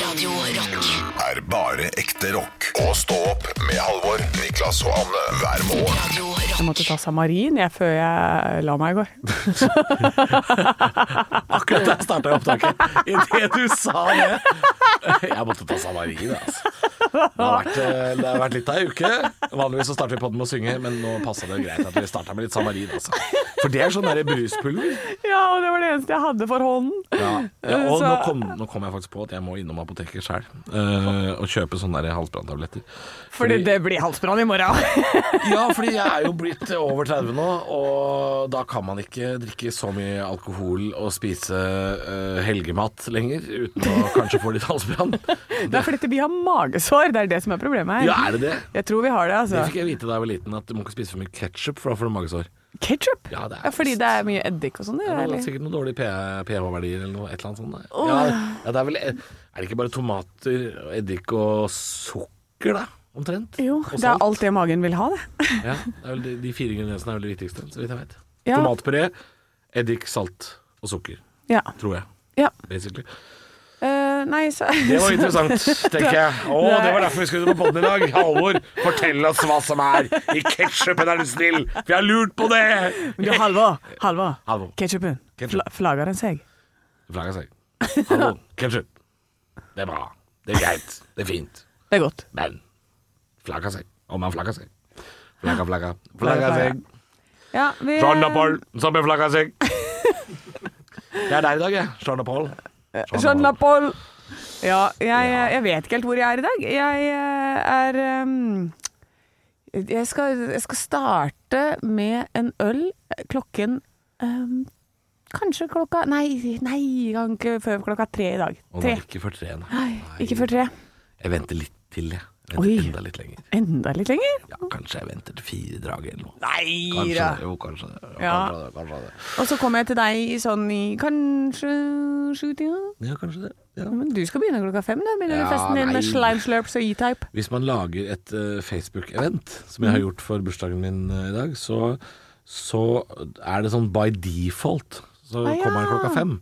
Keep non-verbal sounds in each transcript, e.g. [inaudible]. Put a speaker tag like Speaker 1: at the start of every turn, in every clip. Speaker 1: Radio Rock.
Speaker 2: er bare ekte rock. Og stå opp med Halvor, Niklas og Anne hver morgen.
Speaker 1: Radio
Speaker 3: Jeg
Speaker 1: Rock.
Speaker 3: måtte ta Samarin jeg, før jeg la meg i går. [laughs]
Speaker 4: Akkurat der starta jeg opptaket. Idet du sa det. Jeg måtte ta Samarin, altså. Det har, vært, eh, det har vært litt av ei uke. Vanligvis så starter vi podden med å synge, men nå passa det greit at vi starta med litt Samarin, altså. For det er sånn derre bruspulver.
Speaker 3: Ja, og det var det eneste jeg hadde for hånden.
Speaker 4: Ja. og nå
Speaker 3: Så-
Speaker 4: kom, nå kom jeg faktisk på at jeg må innom apoteket sjøl og kjøpe sånne der halsbranntabletter.
Speaker 3: Fordi det blir halsbrann i morgen.
Speaker 4: [laughs] Ja, fordi jeg er jo blitt over 30 nå, og da kan man ikke drikke så mye alkohol og spise eh, helgemat lenger uten å kanskje få litt halsbrann.
Speaker 3: [laughs] Det er fordi at vi har magesår, det er det som er problemet her.
Speaker 4: Ja, er det det?
Speaker 3: Jeg tror vi har det,
Speaker 4: Det fikk
Speaker 3: altså.
Speaker 4: jeg vite da jeg var liten, at du må ikke spise for mye ketsjup, for da får du magesår.
Speaker 3: Ketchup?
Speaker 4: Ja, det er
Speaker 3: fordi det er mye eddik og sånn, det,
Speaker 4: Det er
Speaker 3: eller?
Speaker 4: sikkert noen dårlige P- pH-verdier eller noe, et eller annet sånt. da. Ja, ja, det er vel Er det ikke bare tomater, og eddik og sukker, da? Omtrent?
Speaker 3: Jo,
Speaker 4: Og
Speaker 3: det er
Speaker 4: salt.
Speaker 3: alt det magen vil ha, det. [laughs]
Speaker 4: Ja, det er vel de, de fire ingrediensene er vel de viktigste, så vidt jeg vet.
Speaker 3: Ja.
Speaker 4: Tomatpuré, eddik, salt og sukker,
Speaker 3: Ja.
Speaker 4: tror jeg.
Speaker 3: ja.
Speaker 4: Basically.
Speaker 3: Eh, nei, så
Speaker 4: Det
Speaker 3: [laughs]
Speaker 4: var interessant, tenker jeg. Å, det var derfor vi skulle på podden i dag. Halvor, fortell oss hva som er i ketsjupen, er du snill! Vi har lurt på det!
Speaker 3: Du, Halvor, Halvor.
Speaker 4: Halvor.
Speaker 3: Ketchupen.
Speaker 4: Ketchup.
Speaker 3: Fla flager den seg?
Speaker 4: Flagga seg. Hallo, ketchup. Det er bra. Det er greit. Det er fint.
Speaker 3: Det er godt.
Speaker 4: Men flagga seg. Om han flagga seg. Flagga, flagga. Flagga seg.
Speaker 3: Ja, vi
Speaker 4: Jean Paul, som er flagga seg. Det er deg i dag, jeg. Jean Paul.
Speaker 3: Jean Lapol. Ja, jeg, jeg vet ikke helt hvor jeg er i dag. Jeg eh, er um, jeg, skal, jeg skal starte med en øl klokken um, Kanskje klokka Nei, nei, jeg kan ikke før klokka tre i dag.
Speaker 4: Og
Speaker 3: Tre.
Speaker 4: nå ikke for tre, nei.
Speaker 3: Nei, ikke før tre.
Speaker 4: Jeg venter litt til, jeg. jeg
Speaker 3: Oi.
Speaker 4: venter enda litt lenger.
Speaker 3: Enda litt lenger.
Speaker 4: Ja, kanskje jeg venter til fire drag eller noe.
Speaker 3: Nei
Speaker 4: Kanskje
Speaker 3: da.
Speaker 4: det. Jo, kanskje det. Ja,
Speaker 3: Ja.
Speaker 4: Kanskje det. Kanskje det.
Speaker 3: Og så kommer jeg til deg i sånn i kanskje sjutida.
Speaker 4: Ja, kanskje det. Ja.
Speaker 3: Men du skal begynne klokka fem, da. Begynner
Speaker 4: Ja,
Speaker 3: du festen din med
Speaker 4: nei.
Speaker 3: slime slurps og E-type.
Speaker 4: Hvis man lager et eh, Facebook-event, som
Speaker 3: Mm.
Speaker 4: jeg har gjort for bursdagen min eh, i dag, så, så er det sånn by default. Så
Speaker 3: Ah, ja.
Speaker 4: kommer den klokka fem.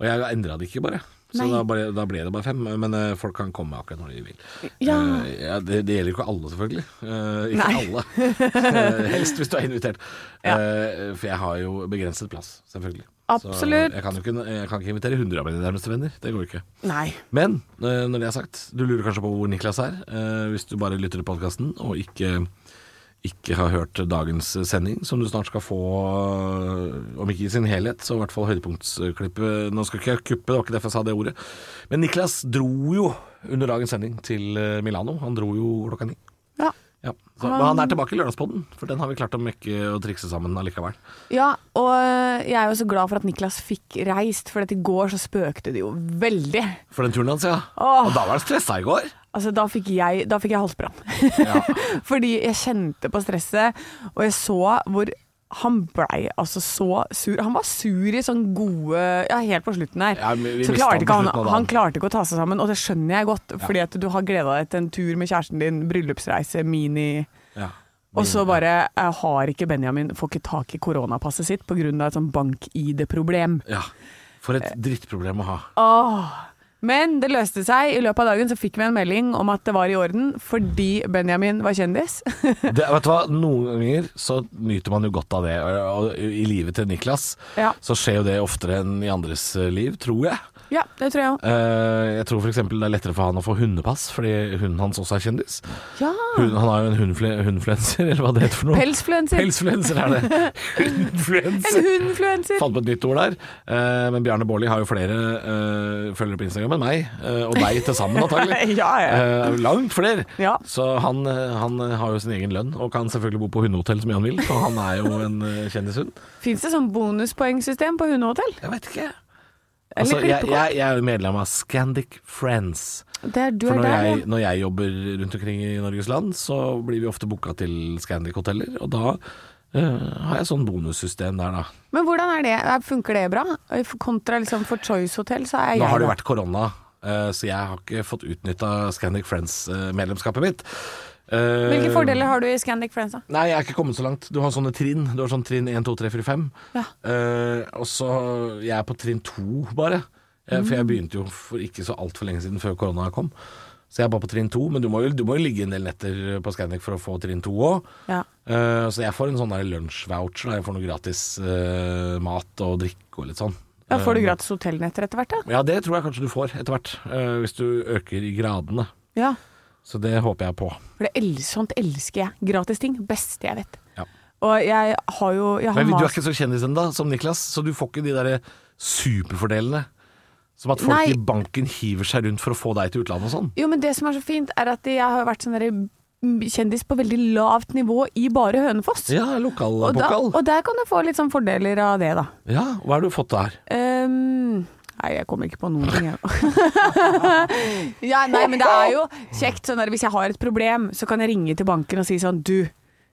Speaker 4: Og jeg endra det ikke, bare. Så
Speaker 3: Nei.
Speaker 4: da, bare, da ble det bare fem. Men eh, folk kan komme akkurat når de vil.
Speaker 3: Ja.
Speaker 4: Eh, ja, det, det gjelder jo ikke alle, selvfølgelig. Eh, ikke
Speaker 3: Nei. [laughs]
Speaker 4: alle. Eh, helst hvis du er invitert.
Speaker 3: Ja.
Speaker 4: Eh, for jeg har jo begrenset plass, selvfølgelig.
Speaker 3: Absolutt.
Speaker 4: Så jeg kan jo ikke, jeg kan ikke invitere 100 av mine nærmeste venner. Det går ikke.
Speaker 3: Nei.
Speaker 4: Men eh, når det er sagt, du lurer kanskje på hvor Niklas er. eh, hvis du bare lytter til podkasten og ikke, ikke har hørt dagens sending, som du snart skal få, eh, om ikke i sin helhet, så i hvert fall høydepunktsklippet. Nå skal ikke jeg kuppe, det var ikke derfor jeg sa det ordet. Men Niklas dro jo under dagens sending til eh, Milano. Han dro jo klokka ni.
Speaker 3: Ja.
Speaker 4: Ja. Så, men han er tilbake i lørdagspodden, for den har vi klart å mekke og trikse sammen allikevel.
Speaker 3: Ja, og eh, jeg er jo så glad for at Niklas fikk reist, for i går så spøkte det jo veldig.
Speaker 4: For den turen hans, ja.
Speaker 3: Åh.
Speaker 4: Og da var han stressa i går.
Speaker 3: Altså, da fikk jeg, da fikk jeg halsbrann. [laughs] Fordi jeg kjente på stresset, og jeg så hvor han blei altså så sur. Han var sur i sånn gode Ja, helt på slutten her.
Speaker 4: Ja, men vi
Speaker 3: så
Speaker 4: mistet han
Speaker 3: klarte ikke
Speaker 4: på
Speaker 3: han,
Speaker 4: slutten av dagen.
Speaker 3: han klarte ikke å ta seg sammen, og det skjønner jeg godt. Fordi at du har gleda deg til en tur med kjæresten din, bryllupsreise, mini
Speaker 4: Ja.
Speaker 3: Og så bare jeg har ikke Benjamin får ikke tak i koronapasset sitt pga. et sånn bank-ID-problem.
Speaker 4: ja. For et drittproblem å ha.
Speaker 3: Åh. Men det løste seg. I løpet av dagen så fikk vi en melding om at det var i orden fordi Benjamin var kjendis.
Speaker 4: det, vet du hva, Noen ganger så nyter man jo godt av det. Og og I livet til Niklas
Speaker 3: Ja.
Speaker 4: så skjer jo det oftere enn i andres eh, liv, tror jeg.
Speaker 3: [laughs] ja, det tror jeg òg.
Speaker 4: Eh, jeg tror f.eks. det er lettere for han å få hundepass, fordi hunden hans også er kjendis.
Speaker 3: Ja.
Speaker 4: Hun, han har jo en hundfle, hundfluenser, eller hva det heter for noe.
Speaker 3: Pelsfluenser.
Speaker 4: Pelsfluenser er det.
Speaker 3: En
Speaker 4: Hundfluenser.
Speaker 3: hundfluenser.
Speaker 4: Fant på et nytt ord der. Eh, men Bjarne Baarli har jo flere eh, følgere på Instagram enn meg, eh, og deg til sammen antagelig.
Speaker 3: [laughs] Ja, ja.
Speaker 4: Eh, langt flere.
Speaker 3: Ja.
Speaker 4: Så han, eh, han har jo sin egen lønn, og kan selvfølgelig bo på hundehotell så mye han vil, for han er jo en eh, kjendishund.
Speaker 3: Fins det sånn bonuspoengsystem på hundehotell?
Speaker 4: Jeg vet ikke.
Speaker 3: Eller
Speaker 4: Altså, jeg,
Speaker 3: klippekort?
Speaker 4: jeg, jeg er jo medlem av Scandic Friends.
Speaker 3: Det er du
Speaker 4: For
Speaker 3: er
Speaker 4: når
Speaker 3: der,
Speaker 4: jeg,
Speaker 3: ja.
Speaker 4: når jeg jobber rundt omkring i Norges land, så blir vi ofte booka til Scandic-hoteller, og da eh, har jeg sånn bonussystem der, da.
Speaker 3: Men hvordan er det? Er- Funker det bra? Kontra liksom for Choice Hotel, så er jeg
Speaker 4: Nå har det
Speaker 3: der.
Speaker 4: vært korona, eh, så jeg har ikke fått utnytta Scandic Friends-medlemskapet mitt. Eh,
Speaker 3: Hvilke fordeler har du i Scandic Friends, da?
Speaker 4: Nei, jeg er ikke kommet så langt. Du har sånne trinn. Du har sånn trinn 1, 2, 3, 4, 5.
Speaker 3: Ja.
Speaker 4: Eh, og så Jeg er på trinn 2, bare. Eh, For jeg begynte jo for ikke så altfor lenge siden før korona kom. Så jeg er bare på trinn to, men du må, jo, du må jo ligge en del netter eh, på Scandic for å få trinn to òg.
Speaker 3: Ja.
Speaker 4: så jeg får en sånn der lunsj-voucher. da. Jeg får noe gratis eh, mat og drikke og litt sånn.
Speaker 3: ja, Får du gratis hotellnetter etter hvert, da?
Speaker 4: Ja, det tror jeg kanskje du får etter hvert, eh, hvis du øker i gradene.
Speaker 3: Ja.
Speaker 4: Så det håper jeg på.
Speaker 3: For det el sånt elsker jeg. Gratis ting. Beste jeg vet.
Speaker 4: Ja.
Speaker 3: Og jeg har jo jeg har
Speaker 4: Men du er
Speaker 3: mas-
Speaker 4: ikke så kjendis ennå som Niklas, så du får ikke de derre superfordelene. Som at folk
Speaker 3: Nei.
Speaker 4: i banken hiver seg rundt for å få deg til utlandet og sånn.
Speaker 3: Jo, men det som er så fint, er at jeg har vært sånn derre kjendis på veldig lavt nivå i bare Hønefoss.
Speaker 4: Ja,
Speaker 3: og, da,
Speaker 4: lokalpokal.
Speaker 3: og der kan du få litt sånn fordeler av det, da.
Speaker 4: Ja, hva har du fått der?
Speaker 3: Ehm, nei, jeg kommer ikke på noen ting. Jeg. [laughs] ja, nei, men det er jo kjekt sånn der, hvis jeg har et problem, så kan jeg ringe til banken og si sånn Du,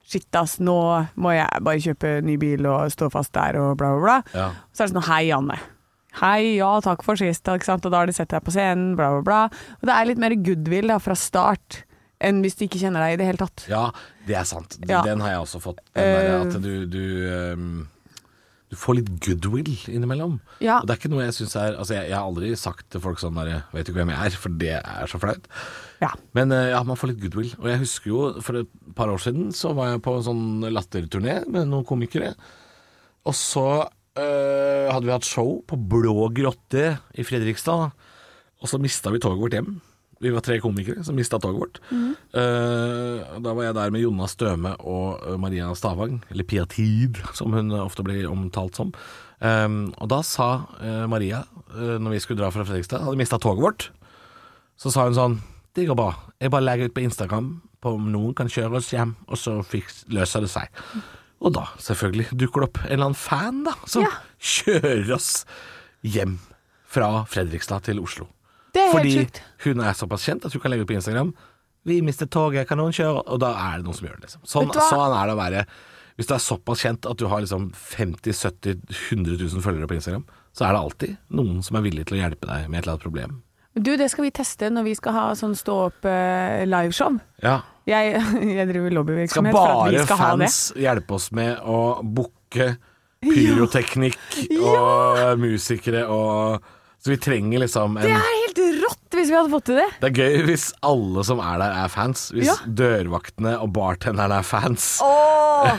Speaker 3: shit ass, nå må jeg bare kjøpe ny bil og stå fast der og bla, bla, bla.
Speaker 4: Ja.
Speaker 3: Så er det sånn Hei, Anne. Hei, ja, takk for sist, ikke sant? og da har de sett deg på scenen, bla, bla, bla. Og det er litt mer goodwill da, fra start enn hvis de ikke kjenner deg i det hele tatt.
Speaker 4: Ja, det er sant. D-
Speaker 3: Ja. Eh.
Speaker 4: Den har jeg også fått. Den der, at du, du, ehm, du får litt goodwill innimellom.
Speaker 3: Ja.
Speaker 4: Og det er ikke noe jeg syns er Altså, jeg, jeg har aldri sagt til folk sånn derre Vet du ikke hvem jeg er? For det er så flaut.
Speaker 3: Ja.
Speaker 4: Men eh, ja, man får litt goodwill. Og jeg husker jo for et par år siden så var jeg på en sånn latterturné med noen komikere. Og så eh, hadde vi hatt show på Blå grotte i Fredrikstad. Og så mista vi toget vårt hjem. Vi var tre komikere som mista toget vårt. Eh, og da var jeg der med Jonna Støme og eh, Maria Stavang, eller Pia Tid, som hun ofte blir omtalt som. Ehm, og da sa eh, Maria, eh, når vi skulle dra fra Fredrikstad, hadde mista toget vårt. Så sa hun sånn Det går bra. Jeg bare legger ut på Instagram på om noen kan kjøre oss hjem, og så fiks, løser det seg. Og da, selvfølgelig, dukker det opp en eller annen fan da som
Speaker 3: Ja.
Speaker 4: kjører oss hjem fra Fredrikstad til Oslo.
Speaker 3: Det er
Speaker 4: Fordi
Speaker 3: helt sjukt.
Speaker 4: hun er såpass kjent at hun kan legge ut på Instagram 'Vi mister toget, kan noen kjøre?' Og da er det noen som gjør det. liksom Sånn,
Speaker 3: Vet du hva?
Speaker 4: sånn er det å være Hvis du er såpass kjent at du har liksom 50 70 100 000 følgere på Instagram, så er det alltid noen som er villig til å hjelpe deg med et eller annet problem.
Speaker 3: Du, det skal vi teste når vi skal ha sånn stå opp eh, liveshow.
Speaker 4: Ja,
Speaker 3: Jeg, [laughs] jeg driver
Speaker 4: Skal
Speaker 3: lobbyvirksomhet for at vi
Speaker 4: bare
Speaker 3: skal ha det.
Speaker 4: fans hjelpe oss med å booke pyroteknikk og musikere og Så vi trenger liksom en
Speaker 3: Det
Speaker 4: det
Speaker 3: er
Speaker 4: er...
Speaker 3: helt rått hvis vi hadde fått til det!
Speaker 4: gøy hvis alle som er der, er fans. Hvis
Speaker 3: Ja.
Speaker 4: dørvaktene og bartenderne er fans.
Speaker 3: Åh,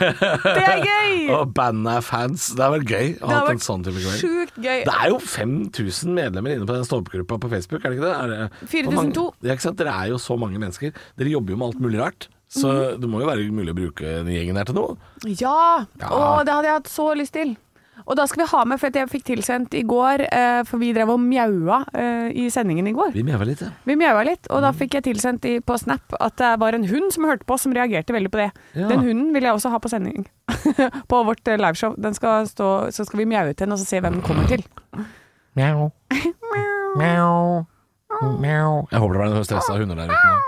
Speaker 3: det er gøy!
Speaker 4: Og bandet er fans. Det hadde vært gøy å
Speaker 3: Det
Speaker 4: ha
Speaker 3: har
Speaker 4: en sånn type kveld.
Speaker 3: sjukt gøy.
Speaker 4: Det er jo 5000 medlemmer inne på den ståpegruppa på Facebook, er det ikke det? Er det-
Speaker 3: 4002.
Speaker 4: Hvor mange- Ja, ikke sant? Dere er jo så mange mennesker. Dere jobber jo med alt mulig rart. Så
Speaker 3: Mhm.
Speaker 4: det må jo være mulig å bruke den gjengen her til noe.
Speaker 3: Ja!
Speaker 4: Ja.
Speaker 3: Åh, det hadde jeg hatt så lyst til. Og da skal vi ha med, for at jeg fikk tilsendt i går, eh, for vi drev og mjaua eh, i sendingen i går.
Speaker 4: Vi mever litt, ja.
Speaker 3: Vi mjaua litt, og da fikk jeg tilsendt i, på Snap at det var en hund som hørte på oss, som reagerte veldig på det.
Speaker 4: Ja.
Speaker 3: Den hunden vil jeg også ha på sending. [laughs] på vårt eh, liveshow. Den skal stå, så skal vi mjaue til den, og så se hvem den kommer til.
Speaker 4: Mjau. Mjau. Mjau. Jeg håper det var noen stressa hunder der ute nå.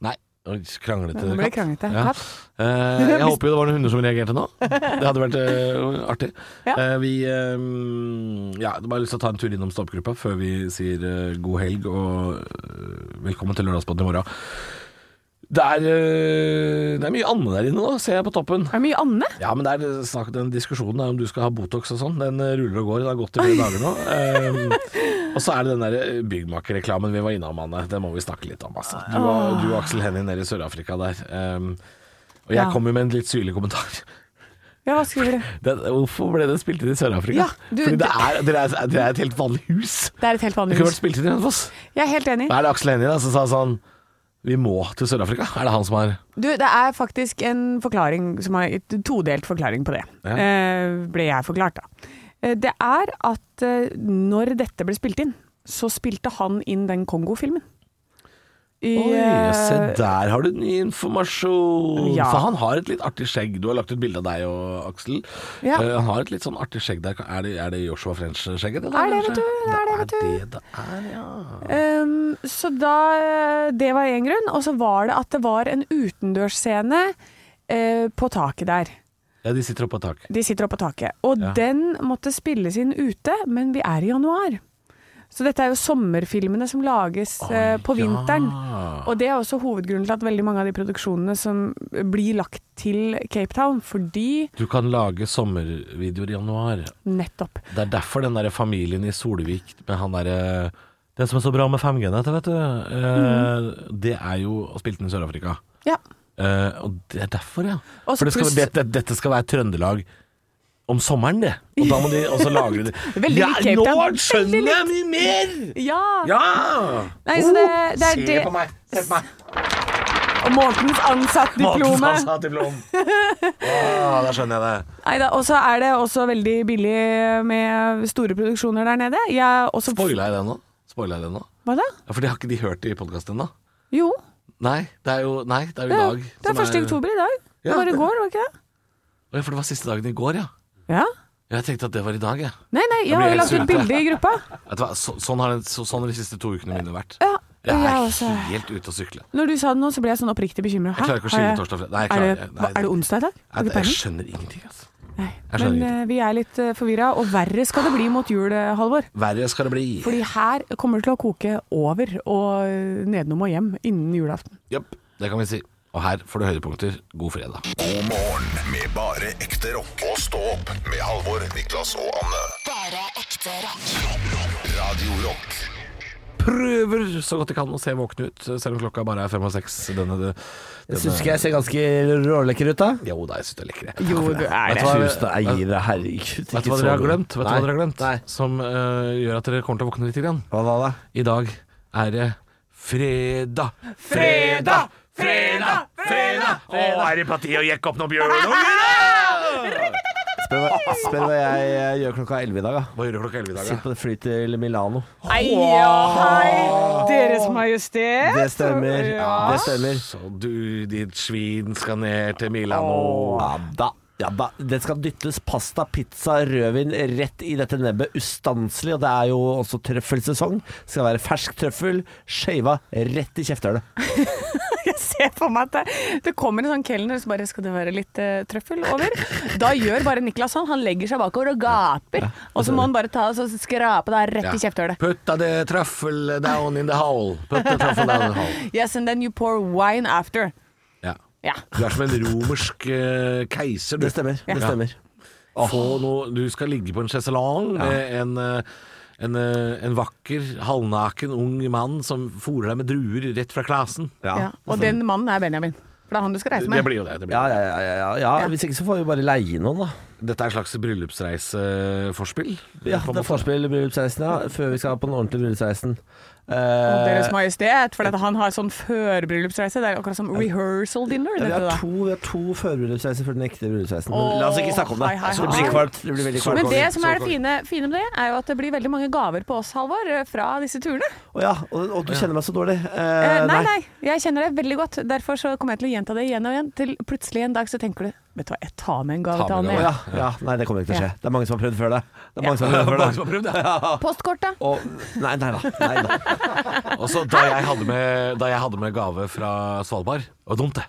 Speaker 4: Nei. oi, Kranglete
Speaker 3: Nå ble [laughs] det kranglete.
Speaker 4: Ja.
Speaker 3: Katt. [laughs]
Speaker 4: Eh, jeg håper jo det var noen hunder som reagerte nå. Det hadde vært eh, artig.
Speaker 3: Ja.
Speaker 4: Eh, vi eh, Ja, det var lyst til å ta en tur innom stoppgruppa før vi sier eh, god helg og eh, velkommen til Lørdagsbåten i morgen. Det er, eh, det er mye Anne der inne nå, ser jeg på toppen.
Speaker 3: Er det mye Anne?
Speaker 4: Ja, men det er snakk, den diskusjonen er om du skal ha Botox og sånn. Den eh, ruller og går. Det har gått i flere dager nå. Ehm, og så er det den der byggmakerreklamen vi var innom, Anne. Det må vi snakke litt om, altså. Du og, du og Aksel Hennie nede i Sør-Afrika der. Ehm, og jeg
Speaker 3: Ja.
Speaker 4: kom jo med en litt syrlig kommentar. [laughs]
Speaker 3: Ja, hva skriver du?
Speaker 4: Den, hvorfor ble den spilt inn i Sør-Afrika?
Speaker 3: Ja, du-
Speaker 4: Fordi det er, dere er, dere er et helt vanlig hus.
Speaker 3: Det er et helt
Speaker 4: Det
Speaker 3: vanlig
Speaker 4: kunne vært
Speaker 3: hus.
Speaker 4: spilt inn i Hønefoss.
Speaker 3: Jeg er helt enig.
Speaker 4: Da er det Aksel Hennie da, som sa sånn Vi må til Sør-Afrika. Er det han som har
Speaker 3: Du, det er faktisk en forklaring som har et todelt forklaring på det.
Speaker 4: Ja.
Speaker 3: Eh, ble jeg forklart, da. Eh, det er at eh, når dette ble spilt inn, så spilte han inn den Kongo-filmen. I,
Speaker 4: Oi, se
Speaker 3: eh,
Speaker 4: der har du ny informasjon.
Speaker 3: Ja.
Speaker 4: For han har et litt artig skjegg. Du har lagt ut bilde av deg og Aksel.
Speaker 3: Ja.
Speaker 4: Eh, han har et litt sånn artig skjegg der. Er det, er det Joshua French-skjegget? eller?
Speaker 3: Er det, vet du, er det, vet du.
Speaker 4: er det det er, ja.
Speaker 3: Ehm, så da eh, Det var én grunn. Og så var det at det var en utendørsscene eh, på taket der.
Speaker 4: ja, de sitter oppe på tak.
Speaker 3: De sitter oppe på taket. Og
Speaker 4: Ja.
Speaker 3: den måtte spilles inn ute, men vi er i januar. Så dette er jo sommerfilmene som lages eh, på
Speaker 4: ja.
Speaker 3: vinteren. Og det er også hovedgrunnen til at veldig mange av de produksjonene som blir lagt til Cape Town, fordi
Speaker 4: Du kan lage sommervideoer i januar.
Speaker 3: nettopp
Speaker 4: Det er derfor den der familien i Solvik med han derre Den som er så bra med 5G-nettet, vet du. eh,
Speaker 3: Mm.
Speaker 4: Det er jo og spilt inn i Sør-Afrika.
Speaker 3: Ja.
Speaker 4: Eh, og det er derfor, ja.
Speaker 3: Og så
Speaker 4: For det skal,
Speaker 3: pluss-
Speaker 4: det, det, dette skal være Trøndelag om sommeren, det. Og da må de
Speaker 3: [laughs]
Speaker 4: også lagre det.
Speaker 3: Veldig
Speaker 4: ja,
Speaker 3: likt Cape
Speaker 4: nå
Speaker 3: Town.
Speaker 4: skjønner jeg mye mer!
Speaker 3: Ja!
Speaker 4: Ja! Oh,
Speaker 3: Nei, så det, det er
Speaker 4: Se
Speaker 3: det.
Speaker 4: på meg. Se på meg.
Speaker 3: Og månedens ansatt-diplomet.
Speaker 4: Matens altså
Speaker 3: [laughs]
Speaker 4: diplom. Å, da skjønner jeg det.
Speaker 3: Neida, Og så er det også veldig billig med store produksjoner der nede. Jeg er også
Speaker 4: Spoila jeg det nå? Spoila jeg det nå?
Speaker 3: Hva da?
Speaker 4: Ja, for det har ikke de hørt i podkasten ennå.
Speaker 3: Jo.
Speaker 4: Nei, det er jo Nei, det er jo
Speaker 3: Det
Speaker 4: i
Speaker 3: er,
Speaker 4: dag.
Speaker 3: det
Speaker 4: som
Speaker 3: er 1. oktober i dag.
Speaker 4: Ja,
Speaker 3: Det var i
Speaker 4: det-
Speaker 3: går, var det ikke det?
Speaker 4: Å, ja, For det var siste dagen i går, ja.
Speaker 3: Ja.
Speaker 4: Jeg tenkte at det var i dag, jeg.
Speaker 3: Nei, nei, jeg
Speaker 4: blir
Speaker 3: har jo
Speaker 4: helt
Speaker 3: lagt ut
Speaker 4: sulten.
Speaker 3: bilde i gruppa.
Speaker 4: Vet du hva, så, sånn, har den, så, sånn har de siste to ukene mine vært.
Speaker 3: Ja, altså.
Speaker 4: Jeg
Speaker 3: jeg
Speaker 4: er
Speaker 3: også.
Speaker 4: helt ute å sykle.
Speaker 3: Når du sa det nå, så ble jeg sånn oppriktig bekymra.
Speaker 4: Jeg klarer ikke å skille torsdag fra- Nei, jeg
Speaker 3: er,
Speaker 4: klarer-
Speaker 3: det-
Speaker 4: nei,
Speaker 3: hva- er det onsdag i dag? Har du
Speaker 4: Jeg, jeg
Speaker 3: peiling?
Speaker 4: skjønner ingenting, altså.
Speaker 3: Nei.
Speaker 4: jeg skjønner
Speaker 3: Men eh, vi er litt eh, forvirra, og verre skal det bli mot jul, eh, Halvor.
Speaker 4: Verre skal det bli.
Speaker 3: Fordi her kommer det til å koke over og eh, nedenom og hjem innen julaften.
Speaker 4: Japp, det kan vi si. Og her får du høydepunkter. God fredag.
Speaker 2: God morgen med bare ekte rock. Og stå opp med Halvor, Niklas og Anne.
Speaker 1: Bare ekte rock.
Speaker 2: Radio Rock
Speaker 4: Prøver så godt jeg kan å se våken ut, selv om klokka bare er fem og seks. Denne, denne,
Speaker 5: Jeg syns ikke jeg ser ganske rålekker ut, da.
Speaker 4: Jo da, jeg syns det er lekkert.
Speaker 3: Jo, du er
Speaker 5: Vet
Speaker 3: det.
Speaker 5: du hva, Tusen takk, jeg gir deg,
Speaker 4: Vet
Speaker 5: herregud.
Speaker 4: du hva
Speaker 5: ikke
Speaker 4: dere har
Speaker 5: så-
Speaker 4: glemt? Vet du hva
Speaker 5: Nei.
Speaker 4: dere har glemt?
Speaker 5: Nei.
Speaker 4: Som øh, gjør at dere kommer til å våkne litt. Grann.
Speaker 5: Hva da, da?
Speaker 4: I dag er det fredag.
Speaker 5: Fredag,
Speaker 4: fredag, fredag! Å, er det på tide å jekke opp noen [laughs] bjørnunger,
Speaker 5: Spør hva, [laughs] spør hva jeg eh, gjør klokka elleve i dag, da.
Speaker 4: Hva gjør du klokka elleve i dag,
Speaker 5: Sitt på et fly til Milano.
Speaker 3: Ei, ja, hei, Deres Majestet.
Speaker 5: Det stemmer.
Speaker 3: Ja.
Speaker 5: Det stemmer.
Speaker 4: Så du, ditt svin, skal ned til Milano.
Speaker 5: Ja da. Ja da. Det skal dyttes pasta, pizza, rødvin rett i dette nebbet ustanselig. Og det er jo også trøffelsesong. Det skal være fersk trøffel, skeiva rett i kjeftehullet.
Speaker 3: [laughs] Jeg ser for meg at det, det kommer en sånn kelner, så bare skal det være litt eh, trøffel over. Da gjør bare Niklas sånn. Han legger seg bakover og gaper. Og så må han bare ta og så skrape deg rett i kjeftehullet.
Speaker 4: Putta the truffle down in the hole. Put the truffle down in the hole.
Speaker 3: Yes, and then you pour wine after.
Speaker 4: Ja.
Speaker 3: Ja.
Speaker 4: Du er som en romersk eh, keiser, du.
Speaker 5: Det stemmer.
Speaker 4: Ja.
Speaker 5: Det stemmer.
Speaker 4: Få noe, du skal ligge på en sjeselong med en, eh, en, eh, en vakker, halvnaken ung mann som fôrer deg med druer rett fra klasen.
Speaker 3: Ja.
Speaker 5: Ja.
Speaker 3: Og den mannen er Benjamin. For det er han du skal reise
Speaker 4: Det
Speaker 3: med.
Speaker 4: blir jo det. det blir.
Speaker 5: Ja, ja, ja, ja, ja. Hvis ikke så får vi bare leie noen, da.
Speaker 4: Dette er et slags bryllupsreiseforspill? på
Speaker 5: Ja,
Speaker 4: en
Speaker 5: det er
Speaker 4: måte.
Speaker 5: forspill i bryllupsreisen, ja. Før vi skal på den ordentlige bryllupsreisen.
Speaker 3: Og Deres
Speaker 5: Eh,
Speaker 3: Majestet. For at han har sånn førbryllupsreise. Det er akkurat som rehearsal dinner.
Speaker 5: ja, vi
Speaker 3: Dette,
Speaker 5: har
Speaker 3: da.
Speaker 5: to, vi har to førbryllupsreiser før den ekte bryllupsreisen. Men
Speaker 3: Åh,
Speaker 5: la oss ikke snakke om det.
Speaker 3: hei, hei,
Speaker 5: Så det
Speaker 3: hei.
Speaker 5: blir kvalmt. Det blir veldig kvalmt.
Speaker 3: Men det som er det fine, fine med det, er jo at det blir veldig mange gaver på oss, Halvor, eh, fra disse turene.
Speaker 5: Å ja, og, og du kjenner meg så dårlig. Eh,
Speaker 3: Eh, nei, nei, jeg kjenner det veldig godt. Derfor så kommer jeg til å gjenta det igjen og igjen. Til plutselig en dag så tenker du Vet du hva, jeg tar med en gave
Speaker 4: Ta
Speaker 3: til
Speaker 4: med
Speaker 3: han.
Speaker 4: en
Speaker 5: Å
Speaker 3: jeg.
Speaker 5: ja, ja, nei, det kommer ikke til å skje.
Speaker 3: Ja.
Speaker 5: Det er mange som har prøvd før det. Det er mange som har
Speaker 3: [laughs]
Speaker 4: Mange
Speaker 5: prøvd før det.
Speaker 4: som har prøvd det.
Speaker 3: Postkort, da.
Speaker 5: Og, nei, nei da. Nei, da.
Speaker 4: Og så da, jeg hadde med- da jeg hadde med gave fra Svalbard Det var dumt, det.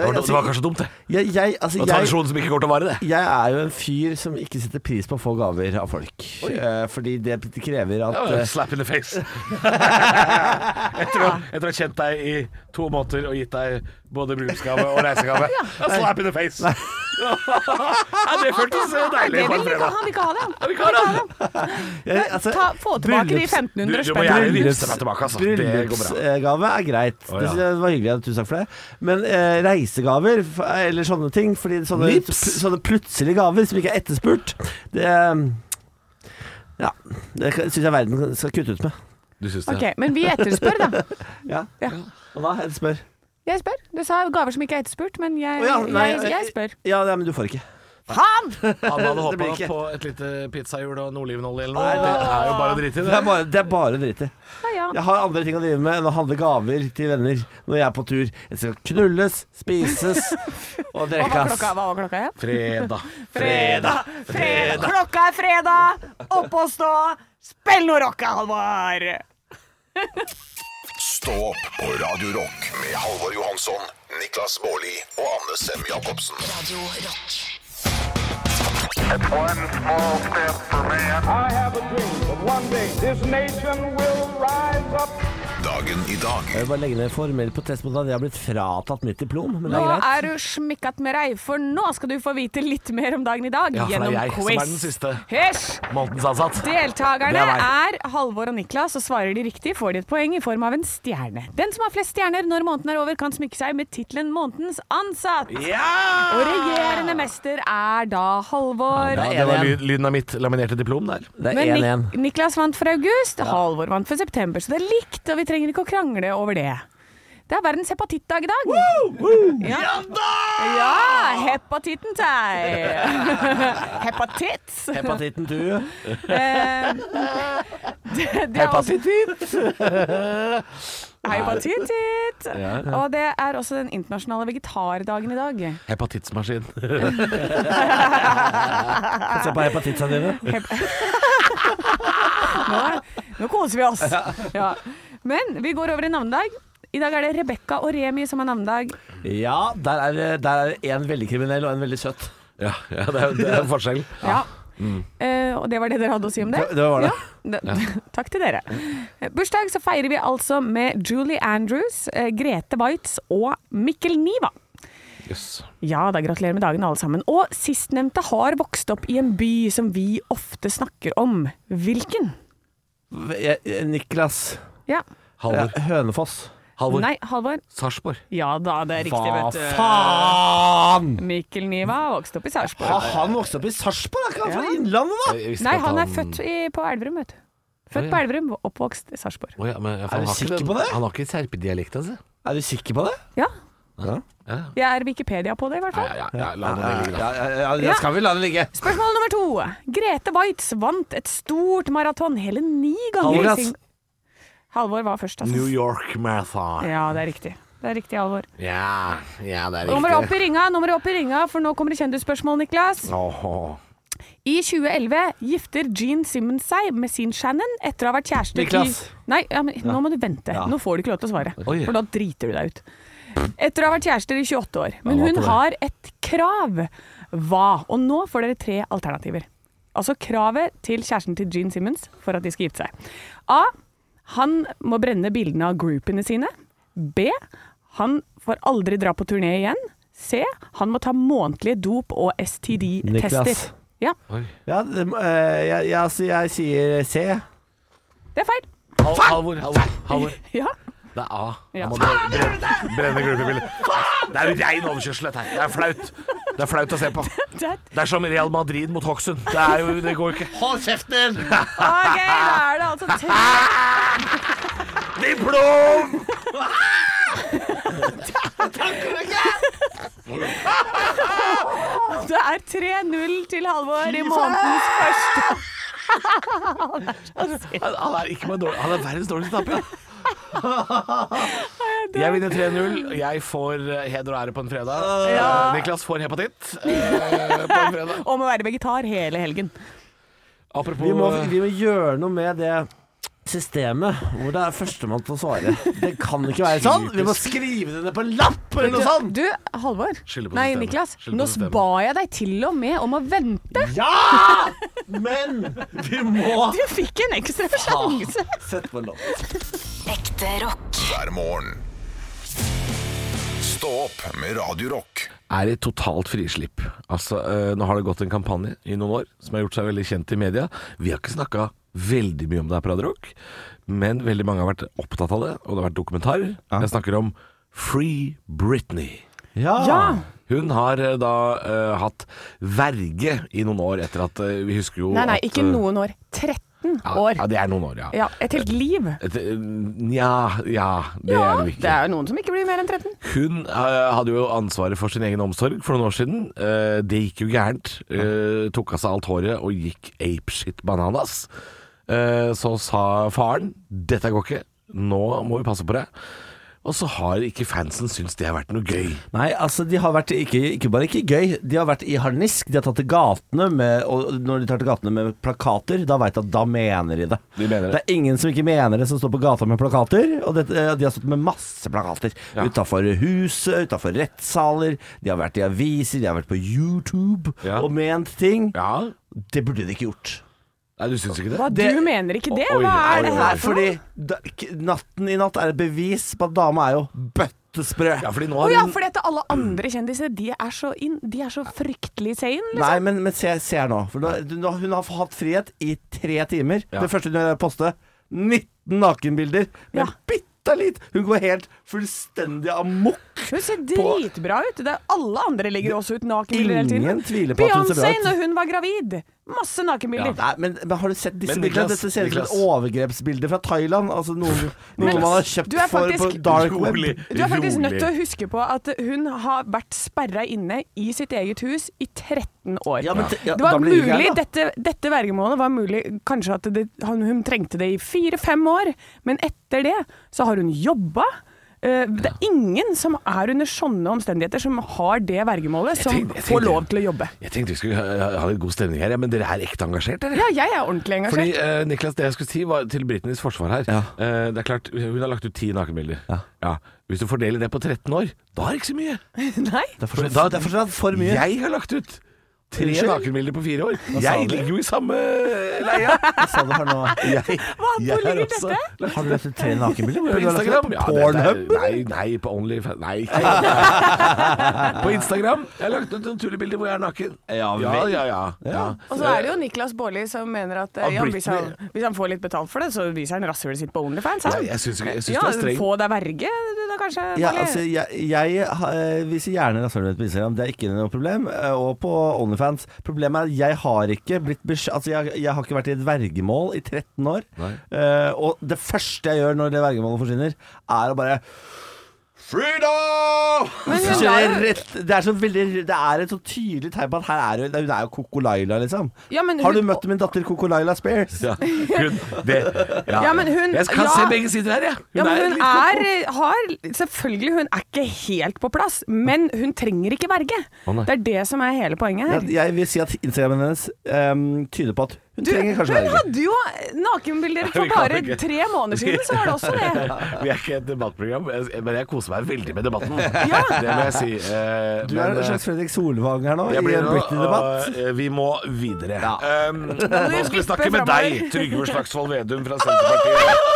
Speaker 4: Det var, det var kanskje dumt, det.
Speaker 5: Jeg, jeg, altså,
Speaker 4: Det var
Speaker 5: jeg,
Speaker 4: tradisjonen som ikke går til å vare, det.
Speaker 5: jeg er jo en fyr som ikke setter pris på å få gaver av folk. Eh, fordi det krever at
Speaker 4: Ja,
Speaker 5: eh,
Speaker 4: slap in the
Speaker 5: [laughs]
Speaker 4: face. Etter å etter å ha kjent deg i to måneder og gitt deg både bryllupsgave og reisegave. Slap in the face. [laughs] Ja, det føltes så
Speaker 3: Det
Speaker 4: deilig på
Speaker 3: vil ikke
Speaker 4: en fredag.
Speaker 3: han vil ikke ha det. han.
Speaker 4: Ja, vi kan ha det.
Speaker 5: jeg, altså,
Speaker 3: Ta, få tilbake de
Speaker 5: bryllups-
Speaker 3: 1500
Speaker 4: Du- du må
Speaker 3: spennene.
Speaker 4: gjerne-
Speaker 5: Bryllups-
Speaker 4: Vipser meg tilbake, altså. Det går bra.
Speaker 5: Bryllupsgave er greit.
Speaker 4: Å, ja.
Speaker 5: Det synes jeg var hyggelig. Tusen takk for det. Men eh, reisegaver f- eller sånne ting fordi sånne,
Speaker 4: Nips.
Speaker 5: pl- sånne plutselige gaver som ikke er etterspurt, det ja, det syns jeg verden skal kutte ut med.
Speaker 4: Du syns det?
Speaker 3: Ok, Men vi etterspør, da.
Speaker 5: Ja.
Speaker 3: Ja.
Speaker 5: Og da? Jeg spør.
Speaker 3: Jeg spør. Du sa gaver som ikke er etterspurt, men jeg,
Speaker 5: Å ja, nei, eh,
Speaker 3: jeg, jeg spør.
Speaker 5: Ja, nei, men du får ikke.
Speaker 3: Faen!
Speaker 4: Han hadde
Speaker 5: Det blir
Speaker 4: håpa
Speaker 5: ikke.
Speaker 4: på et lite pizzahjul og en olivenolje eller noe. Det er jo bare å drite i
Speaker 5: Det
Speaker 4: det.
Speaker 5: er bare, det er bare dritt i.
Speaker 3: Ja, ja.
Speaker 5: Jeg har andre ting å drive med enn å handle gaver til venner når jeg er på tur. Jeg skal knulles,
Speaker 3: [laughs]
Speaker 5: spises
Speaker 3: Hva
Speaker 5: og
Speaker 3: var
Speaker 5: drikkes.
Speaker 3: klokka? Hva var klokka ja?
Speaker 5: [laughs]
Speaker 4: Fredag.
Speaker 3: Fredag. Klokka er fredag! Opp og stå! Spill noe rock, Halvor!
Speaker 2: Stå opp på Radio Rock med Halvor Johansson, Niklas Baarli og Anne Sem Jacobsen.
Speaker 1: Radio Rock.
Speaker 6: It's one small step for man.
Speaker 7: I have a dream that one day this nation will rise up.
Speaker 2: Dagen i dag.
Speaker 5: Jeg vil bare legge ned formell protest mot at jeg har blitt fratatt mitt diplom, men det
Speaker 3: Nå
Speaker 5: er greit.
Speaker 3: er du smikkat med deg, for nå skal du få vite litt mer om dagen i dag
Speaker 5: Ja, for det er
Speaker 3: gjennom
Speaker 5: jeg som
Speaker 3: quiz.
Speaker 5: er den siste.
Speaker 3: Hysj!
Speaker 5: Månedsansatt.
Speaker 3: Deltakerne
Speaker 5: Det er
Speaker 3: er Halvor og Niklas, og svarer de riktig, får de et poeng i form av en stjerne. Den som har flest stjerner når måneden er over, kan smykke seg med tittelen 'Månedens ansatt'. Og regjerende mester er da Halvor.
Speaker 5: Ja,
Speaker 4: Det var
Speaker 5: en.
Speaker 4: ly- lyden av mitt laminerte diplom der.
Speaker 5: Det
Speaker 3: Men
Speaker 5: er
Speaker 3: Nik [laughs]
Speaker 5: 1-1.
Speaker 3: Niklas vant for august, Halvor vant for september, så det er likt, og vi trenger ikke å krangle over det. Det er verdens hepatittdag i dag. Ja. ja! Hepatitten [laughs] tei. Hepatitt. [laughs]
Speaker 5: Hepatitten du.
Speaker 3: Eh, det- det er også-
Speaker 5: Hepatitt.
Speaker 3: Hepatitt. Og det er også den internasjonale vegetardagen i dag.
Speaker 4: Hepatittsmaskin.
Speaker 5: Se på hepatittene dine.
Speaker 3: Nå, nå koser vi oss. Ja. Men vi går over i navnedag. I dag er det Rebekka og Remi som har navnedag.
Speaker 5: Ja, der er det- der er det en veldig kriminell og en veldig søt.
Speaker 4: [laughs] Ja, ja det, er, det er en forskjell.
Speaker 3: Ja. Eh, og det var det dere hadde å si om det?
Speaker 5: Det- det var det.
Speaker 3: Ja. det- [laughs] Takk til dere. Eh, Bursdag så feirer vi altså med Julie Andrews, eh, Grete Waitz og Mikkel Niva.
Speaker 4: Yes.
Speaker 3: Ja, da gratulerer med dagen alle sammen. Og sistnevnte har vokst opp i en by som vi ofte snakker om. Hvilken?
Speaker 5: Eh, Niklas
Speaker 3: Ja.
Speaker 5: ja,
Speaker 4: Halvor.
Speaker 5: Hønefoss.
Speaker 4: Halvor.
Speaker 3: Nei, Halvor.
Speaker 4: Sarpsborg.
Speaker 3: Ja da, det er riktig,
Speaker 5: Hva
Speaker 3: vet du.
Speaker 5: faen?
Speaker 3: Mikkel Niva vokste opp i
Speaker 5: Har
Speaker 3: Sarpsborg.
Speaker 5: han vokst opp i Sarpsborg? Er ikke han fra
Speaker 3: Ja.
Speaker 5: Innlandet, da?
Speaker 4: Jeg visste
Speaker 3: Nei,
Speaker 4: ikke at
Speaker 3: han er født i, på Elverum, vet du. Født på Elverum, oppvokst i Sarpsborg.
Speaker 4: Å ja, men, for han har
Speaker 5: du
Speaker 4: ikke
Speaker 5: sikker
Speaker 4: den-
Speaker 5: på det?
Speaker 4: Han har ikke serpedialekt, altså.
Speaker 5: Er du sikker på det?
Speaker 3: Ja.
Speaker 4: Ja.
Speaker 3: Jeg er Wikipedia på det, i hvert fall.
Speaker 4: Ja, ja, ja, la det ligge, da.
Speaker 5: Ja, ja, ja,
Speaker 3: Ja.
Speaker 5: det skal vi la det ligge.
Speaker 3: Spørsmål nummer to. Grete Waitz vant et stort maraton hele ni ganger. i
Speaker 5: Halvor, ass.
Speaker 3: Sing- Halvor var først, altså.
Speaker 4: New York Marathon.
Speaker 3: Ja, det er riktig. Det er riktig, Halvor.
Speaker 4: Ja, ja det er
Speaker 3: Nå må du opp
Speaker 4: riktig.
Speaker 3: i ringa, nå må du opp i ringa, for nå kommer det kjendisspørsmål, Niklas.
Speaker 4: Åhå.
Speaker 3: I 2011 gifter Gene Simmons seg med sin Shannon etter å ha vært kjæreste
Speaker 5: Niklas.
Speaker 3: i Nei, ja, men, nå må du vente. Nå får du ikke lov til å svare,
Speaker 4: Oi.
Speaker 3: for da driter du deg ut. Etter å ha vært kjærester i 28 år. Men hun har et krav. Hva? Og nå får dere tre alternativer. Altså kravet til kjæresten til Gene Simmons for at de skal gifte seg. A. Han må brenne bildene av groupiene sine. B. Han får aldri dra på turné igjen. C. Han må ta månedlige dop- og STD-tester.
Speaker 5: Niklas.
Speaker 3: Ja,
Speaker 5: Ja, det, må- eh, jeg, jeg, altså, jeg sier C.
Speaker 3: det er feil.
Speaker 4: Hal- Halvor, Halvor, Halvor.
Speaker 3: Ja.
Speaker 4: Det er A.
Speaker 3: Ja.
Speaker 4: Han må bre- brenne gruppebilder. Det er jo rein overkjørsel, dette her. Det er flaut. Det er flaut å se på.
Speaker 3: [laughs] Det er
Speaker 4: Det er som Real Madrid mot Hokksund. Det, er jo, det går jo ikke. Hold kjeften din!
Speaker 3: Ok, da er det altså tre, [laughs]
Speaker 4: Diplom!
Speaker 3: det er 3-0 til Halvor i månedens første.
Speaker 4: Han han er ikke med dårlig Han er verdens dårligste taper. ja. Jeg vinner 3-0. Jeg får eh, heder og ære på en fredag. Eh, Niklas får hepatitt eh, på en fredag.
Speaker 3: Om å være vegetar hele helgen.
Speaker 4: Apropos
Speaker 5: Vi må, vi må gjøre noe med det systemet hvor det er førstemann til å svare. Det kan ikke være sånn! Vi må skrive det ned på en lapp eller noe sånt!
Speaker 3: Du, Halvor.
Speaker 4: Skylder på
Speaker 3: Nei,
Speaker 4: systemet.
Speaker 3: Niklas.
Speaker 4: Skylder på
Speaker 3: Nå
Speaker 4: systemet.
Speaker 3: ba jeg deg til og med om å vente.
Speaker 5: Ja! Men vi [laughs] må
Speaker 3: Du fikk en ekstra sjanse.
Speaker 5: sette på en lapp.
Speaker 1: Ekte rock.
Speaker 2: hver morgen. Stå opp med Radio Rock.
Speaker 4: er i totalt frislipp. Altså, eh, nå har det gått en kampanje i noen år som har gjort seg veldig kjent i media. Vi har ikke snakka veldig mye om det her på Radio Rock, men veldig mange har vært opptatt av det, og det har vært dokumentarer. Jeg snakker om Free Britney.
Speaker 3: Ja.
Speaker 4: Hun har eh, da eh, hatt verge i noen år etter at eh, Vi husker jo
Speaker 3: Nei, nei,
Speaker 4: at
Speaker 3: ikke
Speaker 4: eh,
Speaker 3: noen år. 13
Speaker 4: ja,
Speaker 3: år.
Speaker 4: Ja, det er noen år, ja.
Speaker 3: Ja, et helt liv.
Speaker 4: Et, eh, Nja, ja, det
Speaker 3: Ja,
Speaker 4: er det
Speaker 3: det
Speaker 4: ikke.
Speaker 3: er jo noen som ikke blir mer enn 13.
Speaker 4: Hun eh, hadde jo ansvaret for sin egen omsorg for noen år siden. Eh, det gikk jo gærent. Eh, tok av seg alt håret og gikk apeshit bananas. Eh, så sa faren 'dette går ikke, nå må vi passe på deg'. Og så har ikke fansen syntes det har vært noe gøy.
Speaker 5: Nei, altså de har vært ikke, ikke bare ikke gøy, de har vært i harnisk. De har tatt til gatene med Og når de tar til gatene med plakater, da veit jeg at da mener de det.
Speaker 4: De mener det.
Speaker 5: Det er ingen som ikke mener det, som står på gata med plakater. Og det, eh, de har stått med masse plakater.
Speaker 4: Ja.
Speaker 5: Utafor huset, utafor rettssaler. De har vært i aviser, de har vært på YouTube
Speaker 4: Ja.
Speaker 5: og ment ting.
Speaker 4: Ja,
Speaker 5: Det burde de ikke gjort.
Speaker 4: Nei, du syns ikke det?
Speaker 3: Hva,
Speaker 5: Det-
Speaker 3: du mener ikke det?
Speaker 4: Oi,
Speaker 3: Hva
Speaker 4: oi,
Speaker 3: er det
Speaker 4: oi.
Speaker 3: her for
Speaker 5: Fordi
Speaker 3: noe?
Speaker 5: da, k- natten i natt er et bevis på at dama er jo bøttesprø.
Speaker 4: Ja, fordi nå
Speaker 3: Å
Speaker 4: har
Speaker 3: ja,
Speaker 4: hun
Speaker 3: fordi at alle andre kjendiser, de er så, inn, de er så fryktelig sane, liksom.
Speaker 5: Nei, men, men se, se her nå. For da, du- nå- hun har hatt frihet i tre timer.
Speaker 4: Ja.
Speaker 5: Det første hun gjør, er å poste 19 nakenbilder. Men
Speaker 3: Ja.
Speaker 5: bitte litt! Hun går helt fullstendig amok.
Speaker 3: Hun ser dritbra ut. Det er alle andre legger også ut nakenbilder hele tiden.
Speaker 5: Ingen tviler på at hun ser bra ut.
Speaker 3: Beyoncé når hun var gravid. Masse nakenbilder.
Speaker 5: Nei, men, men har du sett disse
Speaker 4: Men
Speaker 5: bildene?
Speaker 4: Niklas,
Speaker 5: Dette ser ut som
Speaker 4: Niklas.
Speaker 5: et overgrepsbilde fra Thailand. Altså noen, noen man har kjøpt
Speaker 3: du er
Speaker 5: for på
Speaker 3: faktisk-
Speaker 5: dark
Speaker 4: Rolig.
Speaker 5: web.
Speaker 3: Du er faktisk nødt til å
Speaker 4: Rolig.
Speaker 3: huske på at hun har vært sperra inne i sitt eget hus i 13 år.
Speaker 5: Ja, men te- ja,
Speaker 3: det var
Speaker 5: da blir det
Speaker 3: mulig,
Speaker 5: gærent, da.
Speaker 3: Dette, dette vergemålet var mulig kanskje at det, han, hun trengte det i fire-fem år, men etter det så har hun jobba. Eh, det er ingen som er under sånne omstendigheter som har det vergemålet, som
Speaker 4: tenkte- jeg
Speaker 3: får
Speaker 4: tenkte-
Speaker 3: lov til å jobbe.
Speaker 4: Jeg tenkte vi skulle ha, ha litt god stemning her, ja, men dere er ekte engasjert, dere.
Speaker 3: Ja, jeg er ordentlig engasjert.
Speaker 4: Fordi, eh, Niklas, Det jeg skulle si var til Britneys forsvar her.
Speaker 5: Ja.
Speaker 4: Eh, det er klart, Hun har lagt ut ti nakenbilder.
Speaker 5: Ja.
Speaker 4: Hvis du fordeler det på 13 år, da er det ikke så mye.
Speaker 3: [laughs] Nei?
Speaker 5: Det er fortsatt, det er fortsatt for mye.
Speaker 4: Jeg har lagt ut tre
Speaker 5: Unnskyld?
Speaker 4: nakenbilder på fire år.
Speaker 5: sa
Speaker 4: Jeg
Speaker 5: du?
Speaker 4: ligger jo i samme leia.
Speaker 5: Hva sa du her
Speaker 4: [laughs]
Speaker 5: nå?
Speaker 3: Hva, hvor ligger dette?
Speaker 5: Har du lagt ut tre nakenbilder?
Speaker 4: På
Speaker 5: Burde du ha lagt ut
Speaker 4: Instagram.
Speaker 5: På
Speaker 4: Ja, det- det er-
Speaker 5: Pornhub?
Speaker 4: nei, nei, på OnlyFans. Nei. ikke. på Instagram. Jeg har lagt ut noen tullebilder hvor jeg er naken. Ja, ja, ja. ja.
Speaker 3: Og så er det jo Niklas Baarli som mener at eh,
Speaker 4: Av
Speaker 3: ja, hvis,
Speaker 4: Britney.
Speaker 3: han, hvis han får litt betalt for det, så viser han rasshølet sitt på OnlyFans.
Speaker 4: Ja, jeg syns ikke- jeg syns
Speaker 3: ja,
Speaker 4: du er streng.
Speaker 3: Få deg verge, du da kanskje.
Speaker 5: Ja,
Speaker 3: Baarli?
Speaker 5: altså, jeg, jeg eh, viser gjerne rasshølet på Instagram, det er ikke noe problem. eh, Og på Onlyfans. Problemet er at jeg har ikke blitt besk... Altså, jeg, jeg har ikke vært i et vergemål i 13 år. Eh, og det første jeg gjør når det vergemålet forsvinner, er å bare Freedom!
Speaker 3: Men hun
Speaker 5: Så
Speaker 3: la
Speaker 5: jeg
Speaker 3: jo-
Speaker 5: rett, det er så veldig Det er et så tydelig tegn på at her er hun Hun er jo Coco Laila, liksom.
Speaker 3: Ja, men
Speaker 5: har du
Speaker 3: hun-
Speaker 5: møtt min datter Coco Laila Spears?
Speaker 4: Ja, hun, det, ja.
Speaker 3: Ja, men hun-
Speaker 4: jeg kan
Speaker 3: ja.
Speaker 4: se begge sider her, jeg.
Speaker 3: ja, men
Speaker 4: litt
Speaker 3: hun er, eh, har Selvfølgelig, hun er ikke helt på plass, men hun trenger ikke verge.
Speaker 4: Å, nei.
Speaker 3: det er det som er hele poenget her.
Speaker 5: Jeg, jeg vil si at Instagrammen hennes eh, tyder på at hun
Speaker 3: Du,
Speaker 5: trenger kanskje
Speaker 3: hun
Speaker 5: verge.
Speaker 3: hadde jo nakenbilder
Speaker 4: Nei, vi
Speaker 3: for
Speaker 4: kan
Speaker 3: bare
Speaker 4: ikke.
Speaker 3: tre måneder siden, så var det
Speaker 4: [laughs]
Speaker 3: også det.
Speaker 4: Vi er ikke et debattprogram, men jeg koser meg veldig med debatten.
Speaker 3: Ja.
Speaker 4: Det må jeg si. Eh,
Speaker 5: Du er
Speaker 4: men,
Speaker 5: en slags Fredrik Solvang her nå, i
Speaker 4: jeg
Speaker 5: en
Speaker 4: blir nå,
Speaker 5: Britney-debatt.
Speaker 4: og, eh, vi må videre. Um, nå
Speaker 3: du
Speaker 4: skal vi
Speaker 3: vippe
Speaker 4: snakke med
Speaker 3: fremover.
Speaker 4: deg, Trygve Slagsvold Vedum fra Senterpartiet.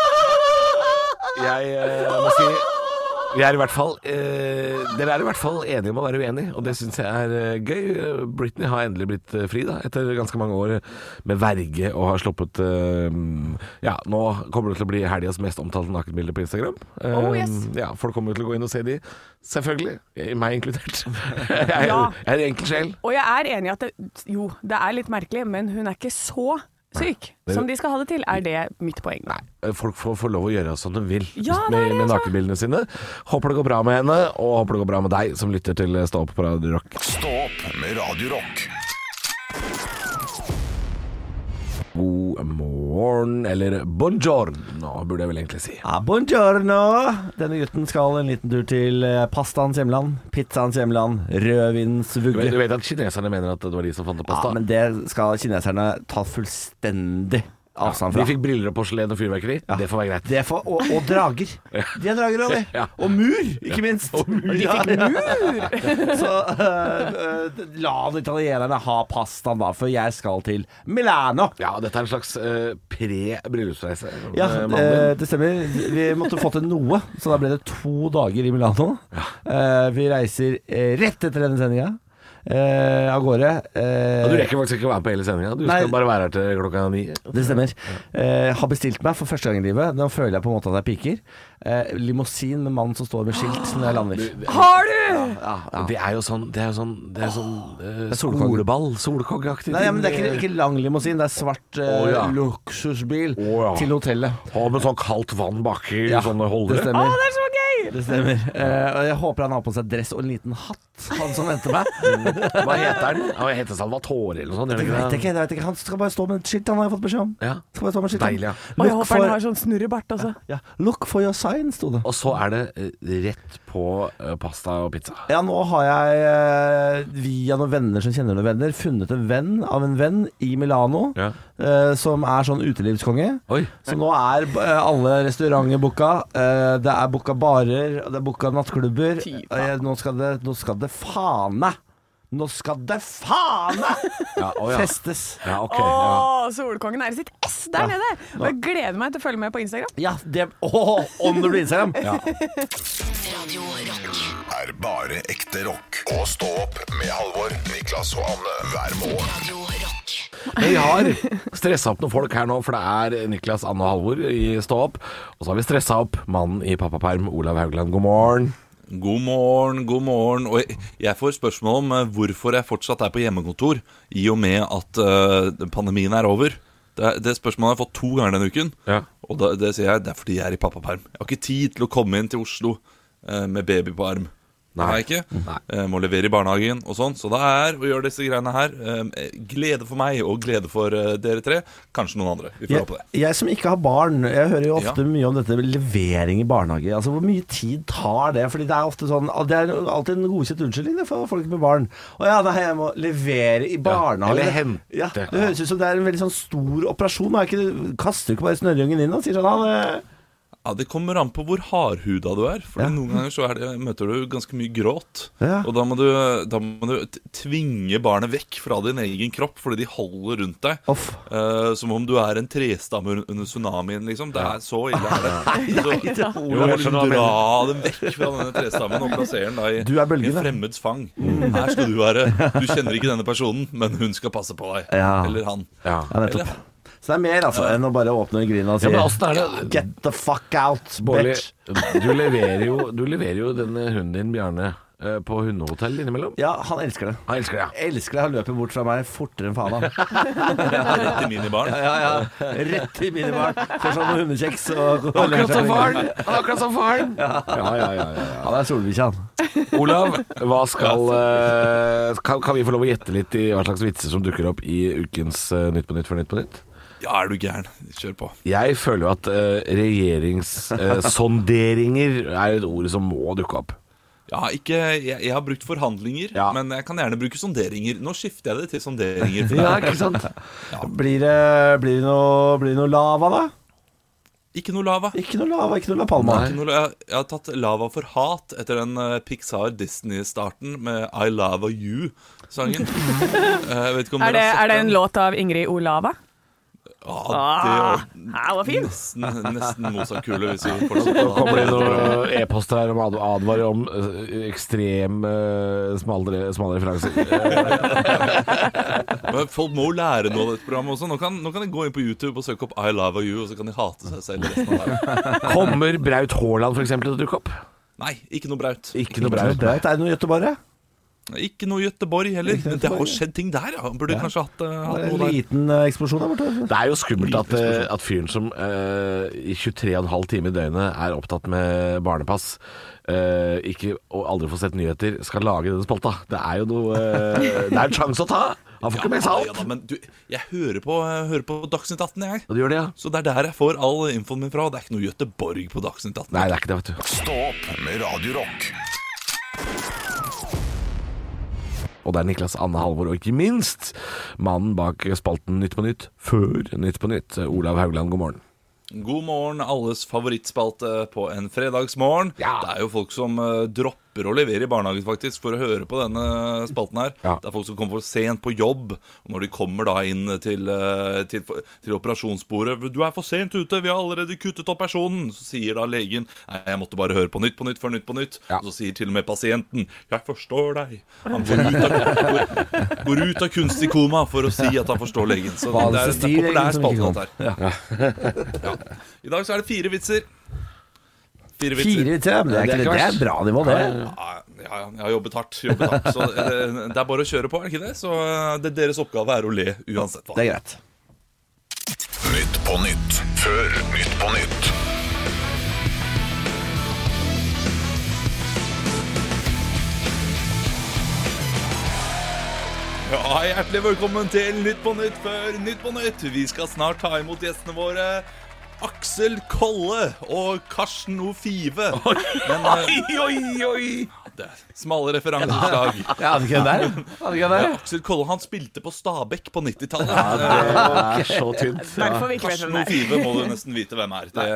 Speaker 4: Jeg eh, må si vi er i hvert fall, eh, dere er i hvert fall enige om å være uenige, og det syns jeg er eh, gøy. Britney har endelig blitt eh, fri, da, etter ganske mange år med verge og har sluppet eh, Ja, nå kommer det til å bli helgas mest omtalte nakenbilder på Instagram. Eh,
Speaker 3: Oh, yes.
Speaker 4: ja, folk kommer til å gå inn og se de. Selvfølgelig. eh, Meg inkludert.
Speaker 3: [laughs]
Speaker 4: Jeg er,
Speaker 3: Ja.
Speaker 4: jeg er en enkel sjel.
Speaker 3: Og jeg er enig i at det, jo, det er litt merkelig, men hun er ikke så syk som de skal ha det til, er det mitt poeng. Nei.
Speaker 4: Eh, Folk får, får lov å gjøre som de vil
Speaker 3: Ja, det er
Speaker 4: med,
Speaker 3: det,
Speaker 4: med
Speaker 3: altså.
Speaker 4: nakenbildene sine. Håper det går bra med henne, og håper det går bra med deg som lytter til Stå opp på Radio Rock.
Speaker 2: Stå opp med Radio Rock.
Speaker 4: God morgen, eller buongiorno, burde jeg vel egentlig si.
Speaker 5: Ah, buongiorno! Denne gutten skal en liten tur til eh, pastaens hjemland, pizzaens hjemland, rødvinens
Speaker 4: Du vet, du
Speaker 5: vugge.
Speaker 4: vet at kineserne mener at det var de som fant opp
Speaker 5: Ja,
Speaker 4: pasta?
Speaker 5: men det skal kineserne ta fullstendig avstand
Speaker 4: de
Speaker 5: fra.
Speaker 4: fikk briller og porselen og fyrverkeri. Det får være greit.
Speaker 5: Det får, og, og drager.
Speaker 4: [laughs]
Speaker 5: De er drager, og de.
Speaker 4: Ja.
Speaker 5: Og mur, ikke minst. De fikk mur! Så eh, eh, la italienerne ha pastaen, da, for jeg skal til Milano.
Speaker 4: Ja, dette er en slags eh, pre-bryllupsreise.
Speaker 5: Ja,
Speaker 4: eh, mannen din.
Speaker 5: eh, det stemmer. Vi måtte få til noe, så da ble det to dager i Milano. Eh, vi reiser eh, rett etter denne sendinga eh, av gårde. Eh,
Speaker 4: Ja, du rekker faktisk ikke å være med på hele sendinga. Du
Speaker 5: Nei.
Speaker 4: skal bare være her til klokka ni.
Speaker 5: det stemmer. Eh, har bestilt meg for første gang i livet. Nå føler jeg på en måte at jeg piker. Eh, limousin med mann som står med skilt når jeg
Speaker 4: Ah,
Speaker 5: lander.
Speaker 3: Har du?!
Speaker 4: Det er jo sånn Det er jo sånn, det er sånn eh,
Speaker 5: er solkonge.
Speaker 4: skoleball. Solkongeaktig.
Speaker 5: Nei, ja, men Det er ikke, ikke lang limousin, det er svart eh,
Speaker 4: Å, ja.
Speaker 5: luksusbil
Speaker 4: Å, ja.
Speaker 5: til hotellet.
Speaker 4: Ha med sånn kaldt vann baki
Speaker 5: Ja,
Speaker 4: sånne
Speaker 5: det
Speaker 3: Å,
Speaker 4: holdere. Ah,
Speaker 5: stemmer.
Speaker 3: det er så gøy! Hei!
Speaker 5: Det stemmer. Eh, og jeg håper han har på seg dress og en liten hatt, han som venter meg.
Speaker 4: Hva heter den? Ja, jeg heter Salvatore eller noe sånt. gjør
Speaker 5: Det
Speaker 4: den
Speaker 5: vet jeg
Speaker 4: ikke det?
Speaker 5: ikke, det vet jeg ikke. Han skal bare stå med et skilt, han har jeg fått beskjed om.
Speaker 4: Ja.
Speaker 5: Skal bare stå med et skilt.
Speaker 4: Deilig, ja.
Speaker 3: Og jeg
Speaker 5: Look
Speaker 3: håper han
Speaker 5: for,
Speaker 3: har sånn snurrebart, altså.
Speaker 5: ja, look for your sign, sto det.
Speaker 4: Og så er det eh, rett på eh, pasta og pizza.
Speaker 5: Ja, nå har jeg, eh, via noen venner som kjenner noen venner, funnet en venn av en venn i Milano
Speaker 4: Ja.
Speaker 5: eh, som er sånn utelivskonge.
Speaker 4: Oi.
Speaker 5: Så nå er eh, alle restauranter booka. Eh, Det er booka barer, og det er booka nattklubber. Eh, Nå skal det, nå skal det faen meg Nå skal det faen meg
Speaker 4: [laughs] Ja, å ja.
Speaker 5: festes!
Speaker 4: Ja, ok.
Speaker 3: Å,
Speaker 4: Ja.
Speaker 3: Solkongen er i sitt ess der nede! Og jeg gleder meg til å følge med på Instagram.
Speaker 5: Ja, det Åh, om det blir Instagram!
Speaker 1: Radio Rock.
Speaker 2: er bare ekte rock. Og stå opp med Halvor, Niklas og Anne hver morgen.
Speaker 1: Radio Rock.
Speaker 4: Men vi har stressa opp noen folk her nå, for det er Niklas, Anne og Halvor i Stå opp. Og så har vi stressa opp mannen i pappaperm, Olav Haugland. God morgen.
Speaker 8: God morgen, god morgen. Og jeg- jeg får spørsmål om eh, hvorfor jeg fortsatt er på hjemmekontor i og med at eh, pandemien er over. Det, er- det spørsmålet har jeg fått to ganger denne uken.
Speaker 4: Ja.
Speaker 8: Og da, det sier jeg det er fordi jeg er i pappaperm. Jeg har ikke tid til å komme inn til Oslo eh, med baby på arm. Det har jeg ikke.
Speaker 4: Nei.
Speaker 8: Eh, må levere i barnehagen og sånn. Så det er å gjøre disse greiene her eh, glede for meg og glede for eh, dere tre. Kanskje noen andre. Vi får
Speaker 5: Jeg,
Speaker 8: håpe det.
Speaker 5: jeg som ikke har barn, jeg hører jo ofte
Speaker 8: Ja.
Speaker 5: mye om dette med levering i barnehage. Altså Hvor mye tid tar det? Fordi det er ofte sånn Det er alltid en godkjent unnskyldning det, for folk med barn. Å ja, nei, jeg må levere i barnehage.
Speaker 4: eller hente.
Speaker 5: Ja, det høres ut som det er en veldig sånn stor operasjon. Er ikke, kaster du ikke bare snørrjungen inn og sier sånn «Ja, det-
Speaker 8: Ja, Det kommer an på hvor hardhuda du er. For
Speaker 5: Ja.
Speaker 8: noen ganger så er det, møter du ganske mye gråt.
Speaker 5: Ja.
Speaker 8: Og da må, du, da må du t- tvinge barnet vekk fra din egen kropp fordi de holder rundt deg.
Speaker 5: Off.
Speaker 8: Eh, som om du er en trestamme un- under tsunamien, liksom. Det er så ille
Speaker 5: [laughs]
Speaker 8: er det. Så,
Speaker 4: Jo,
Speaker 8: du
Speaker 4: jeg skjønner hva
Speaker 8: må liksom
Speaker 4: du
Speaker 8: dra dem vekk fra denne trestammen og plassere den da i,
Speaker 5: Du er Mm.
Speaker 8: i
Speaker 5: bølgen,
Speaker 8: en
Speaker 5: da.
Speaker 8: fremmeds fang. Her skal du være. Du kjenner ikke denne personen, men hun skal passe på deg.
Speaker 5: Ja.
Speaker 8: Eller han.
Speaker 4: Ja.
Speaker 5: Ja, nettopp.
Speaker 8: Eller,
Speaker 5: Så det er mer altså enn å bare åpne en grin og si
Speaker 4: Ja, men åssen er det
Speaker 5: Get the fuck out,
Speaker 4: Bårli,
Speaker 5: bitch.
Speaker 4: du leverer jo, du leverer jo denne hunden din, Bjarne, eh, på hundehotell innimellom.
Speaker 5: Ja, han elsker det.
Speaker 4: Han elsker det, ja.
Speaker 5: Elsker det. Han løper bort fra meg fortere enn faen. han
Speaker 4: [laughs]
Speaker 8: rett i minibaren.
Speaker 5: Ja, ja. Rett i minibaren. Får sånn hundekjeks og
Speaker 4: Akkurat som faren! Akkurat som faren! Ja, ja, ja, ja, ja.
Speaker 5: Han er Solvik, han.
Speaker 4: Olav, hva skal, eh, kan, kan vi få lov å gjette litt i hva slags vitser som dukker opp i ukens eh, Nytt på nytt for Nytt på nytt?
Speaker 8: Ja, er du gæren? Kjør på.
Speaker 4: Jeg føler jo at eh, [laughs] regjeringssonderinger er et ord som må dukke opp.
Speaker 8: Ja, ikke, jeg, jeg har brukt forhandlinger,
Speaker 4: Ja.
Speaker 8: men jeg kan gjerne bruke sonderinger. Nå skifter jeg det til
Speaker 3: [laughs]
Speaker 8: sonderinger. for det er
Speaker 4: ikke
Speaker 5: [laughs]
Speaker 4: sant?
Speaker 5: Blir det, blir det, noe, blir det noe lava, da?
Speaker 8: Ikke noe lava.
Speaker 5: Ikke noe lava, ikke noe La Palma.
Speaker 8: Ikke noe, la- jeg, jeg har tatt Lava for hat etter den eh, Pixar-Disney-starten med I Lava
Speaker 3: [laughs]
Speaker 8: You-sangen. Eh, Jeg vet ikke om
Speaker 3: Er det,
Speaker 8: dere har sett
Speaker 3: er det en
Speaker 8: den.
Speaker 3: låt av Ingrid Olava?
Speaker 8: Ja, det
Speaker 3: Ah, den var fin.
Speaker 8: Nesten, nesten Mozart-kule, hvis vi fortsetter.
Speaker 4: Nå kommer det noen eh, e-poster her om å advare om eh, ekstrem eh, smalere, smale [laughs] referanser.
Speaker 8: Men Folk må jo lære noe av dette programmet også. Nå kan, nå kan de gå inn på YouTube og søke opp I Lava You, og så kan de hate seg selv resten av livet.
Speaker 3: [laughs]
Speaker 4: Kommer Braut Haaland f.eks. til å dukke opp?
Speaker 8: Nei, ikke noe Braut.
Speaker 4: Ikke noe
Speaker 5: Det er
Speaker 4: Braut.
Speaker 5: bra, det er noe Göteborg.
Speaker 8: Ikke noe Gøteborg heller. Men det har jo
Speaker 5: Göteborg,
Speaker 8: skjedd ting der, ja. Han burde kanskje hatt, eh, hatt
Speaker 5: En
Speaker 8: noe der.
Speaker 5: liten eh, eksplosjon der borte.
Speaker 4: Det er jo skummelt at, eh, at fyren som eh, i 23,5 timer i døgnet er opptatt med barnepass, eh, ikke, og aldri får sett nyheter, skal lage denne spalta. Det er jo noe eh, Det er en sjanse å ta! Han får ikke med
Speaker 8: Ja,
Speaker 4: seg
Speaker 8: ja
Speaker 4: alt.
Speaker 8: da, men du, jeg hører på, jeg hører på Dagsnytt 18, jeg.
Speaker 4: Og du gjør det, ja?
Speaker 8: Så det er der jeg får all infoen min fra. Det er ikke noe Gøteborg på Dagsnytt 18.
Speaker 4: Nei, det er ikke det, vet du.
Speaker 2: Stå opp med Radio Rock.
Speaker 4: Og det er Niklas Anne Halvor, og ikke minst mannen bak spalten Nytt på Nytt før Nytt på Nytt. Olav Haugland, god morgen.
Speaker 8: God morgen, alles favorittspalte på en fredagsmorgen.
Speaker 4: Ja.
Speaker 8: Det er jo folk som eh, dropper å levere i barnehagen faktisk for å høre på denne eh, spalten her.
Speaker 4: Ja.
Speaker 8: Det er folk som kommer for sent på jobb. Og når de kommer da inn til, eh, til, til operasjonsbordet 'Du er for sent ute, vi har allerede kuttet operasjonen', så sier da legen 'Nei, jeg måtte bare høre på Nytt på Nytt før Nytt på Nytt'.
Speaker 4: Ja.
Speaker 8: Og så sier til og med pasienten 'Jeg forstår deg'. Han går ut av, går, går ut av kunstig koma for å si at han forstår legen. Så det er, det er en populær spalte, dette her. I dag så er det fire vitser. Fire vitser.
Speaker 5: Fire vitser, ja, men det
Speaker 4: Det
Speaker 5: er,
Speaker 4: er
Speaker 5: ikke,
Speaker 4: ikke
Speaker 5: det er
Speaker 4: verst.
Speaker 5: bra nivå, det.
Speaker 8: Ja, ja, ja, jeg har jobbet hardt. Jobbet hardt så det, det er bare å kjøre på, er det ikke det? Så eh, det, deres oppgave er å le uansett
Speaker 5: Det
Speaker 8: hva.
Speaker 5: er greit.
Speaker 2: Nytt på nytt før Nytt på nytt.
Speaker 8: Ja, hjertelig velkommen til Nytt på Nytt før Nytt på Nytt. Vi skal snart ta imot gjestene våre Aksel Kolle og Karsten Ofive. Men eh,
Speaker 4: Oi, oi, oi!
Speaker 8: det er smale referanseslag.
Speaker 5: Ja, hadde ikke den der? Hadde ikke den der?
Speaker 8: Aksel Kolle han spilte på Stabekk på 90-tallet.
Speaker 4: Det er så tynt.
Speaker 3: [laughs] Derfor vi ikke vet
Speaker 8: Karsten
Speaker 3: hvem det er.
Speaker 8: Ofive må du nesten vite hvem er. Det,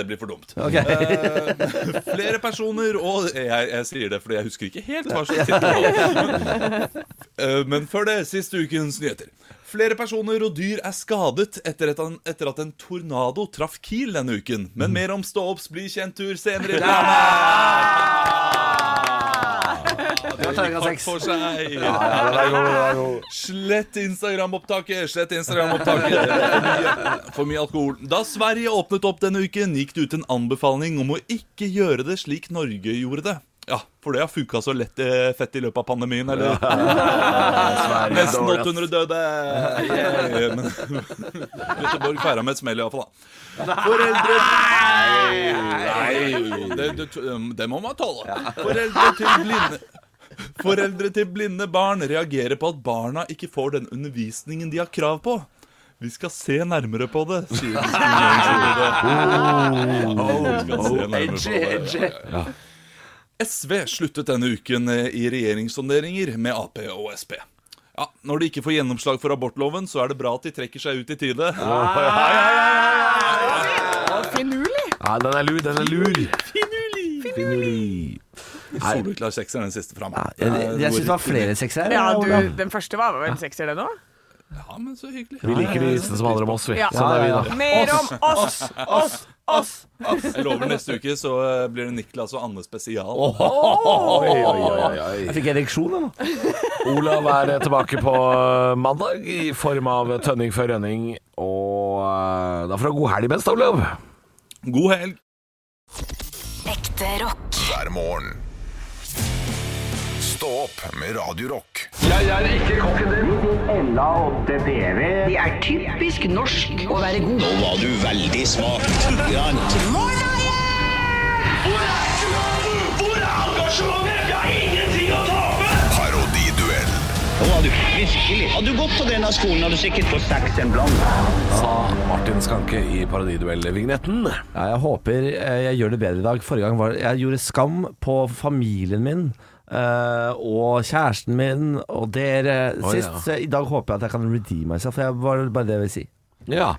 Speaker 8: det blir for dumt.
Speaker 5: Ok.
Speaker 8: Eh, flere personer, og jeg, jeg sier det fordi jeg husker ikke helt hva som sitter på. Men før det, siste ukens nyheter. Flere personer og dyr er skadet etter at en, etter at en tornado traff Kiel denne uken.
Speaker 4: Mhm.
Speaker 8: Men mer om Stå opps bli kjent-tur senere i
Speaker 5: Det var terningkast
Speaker 8: Hardt
Speaker 5: seks.
Speaker 8: for seg. Slett Instagram-opptaket! Slett Instagram-opptaket! For, mye- for mye alkohol. Da Sverige åpnet opp denne uken, gikk det ut en anbefaling om å ikke gjøre det slik Norge gjorde det. Ja, for det har funka så lett eh, fett i løpet av pandemien, eller? Nesten 800 døde! Yeah. Men [laughs] Göteborg feira med et smell, iallfall. Foreldre Nei! Det, det, det må man tåle. Foreldre til blinde Foreldre til blinde barn reagerer på at barna ikke får den undervisningen de har krav på. Vi skal se nærmere på det, sier Oh, diskrimineringsrådet. SV sluttet denne uken eh, i regjeringssonderinger med Ap og Sp. Ja, Når de ikke får gjennomslag for abortloven, så er det bra at de trekker seg ut i tide.
Speaker 3: Finurlig!
Speaker 4: Ja, den er lur, den er lur. Finurlig.
Speaker 8: Soleklar sekser er den siste fra meg.
Speaker 5: Jeg, jeg syns det var flere seksere.
Speaker 3: Ja,
Speaker 5: eller, Olav?
Speaker 3: du, den første var vel en sekser, den òg?
Speaker 8: Ja, men så hyggelig.
Speaker 4: Vi liker de listene som handler om oss, vi.
Speaker 3: Ja.
Speaker 4: Sånn er vi, da.
Speaker 3: Mer om oss, oss, oss!
Speaker 8: Jeg lover neste uke så eh, blir det Niklas og Anne spesial.
Speaker 4: [laughs] Oi, oi, oi, oi.
Speaker 5: Jeg fikk ereksjon, jeg nå.
Speaker 4: Olav er tilbake på eh, mandag i form av Tønning før Rønning. Og eh, da får du ha god helg mens, da, Olav.
Speaker 8: God helg!
Speaker 1: Ekte rock.
Speaker 2: hver morgen. Stå opp med Radio Rock. Parodiduell
Speaker 4: Sa Martin Skanke i Paradiduell-vignetten.
Speaker 5: Ja, jeg håper eh, jeg gjør det bedre i dag. Forrige gang var jeg gjorde skam på familien min. eh, og kjæresten min og dere
Speaker 4: Oi,
Speaker 5: sist.
Speaker 4: ja.
Speaker 5: Så i dag håper jeg at jeg kan redeem myself. For jeg var bare det jeg ville si.
Speaker 4: Ja.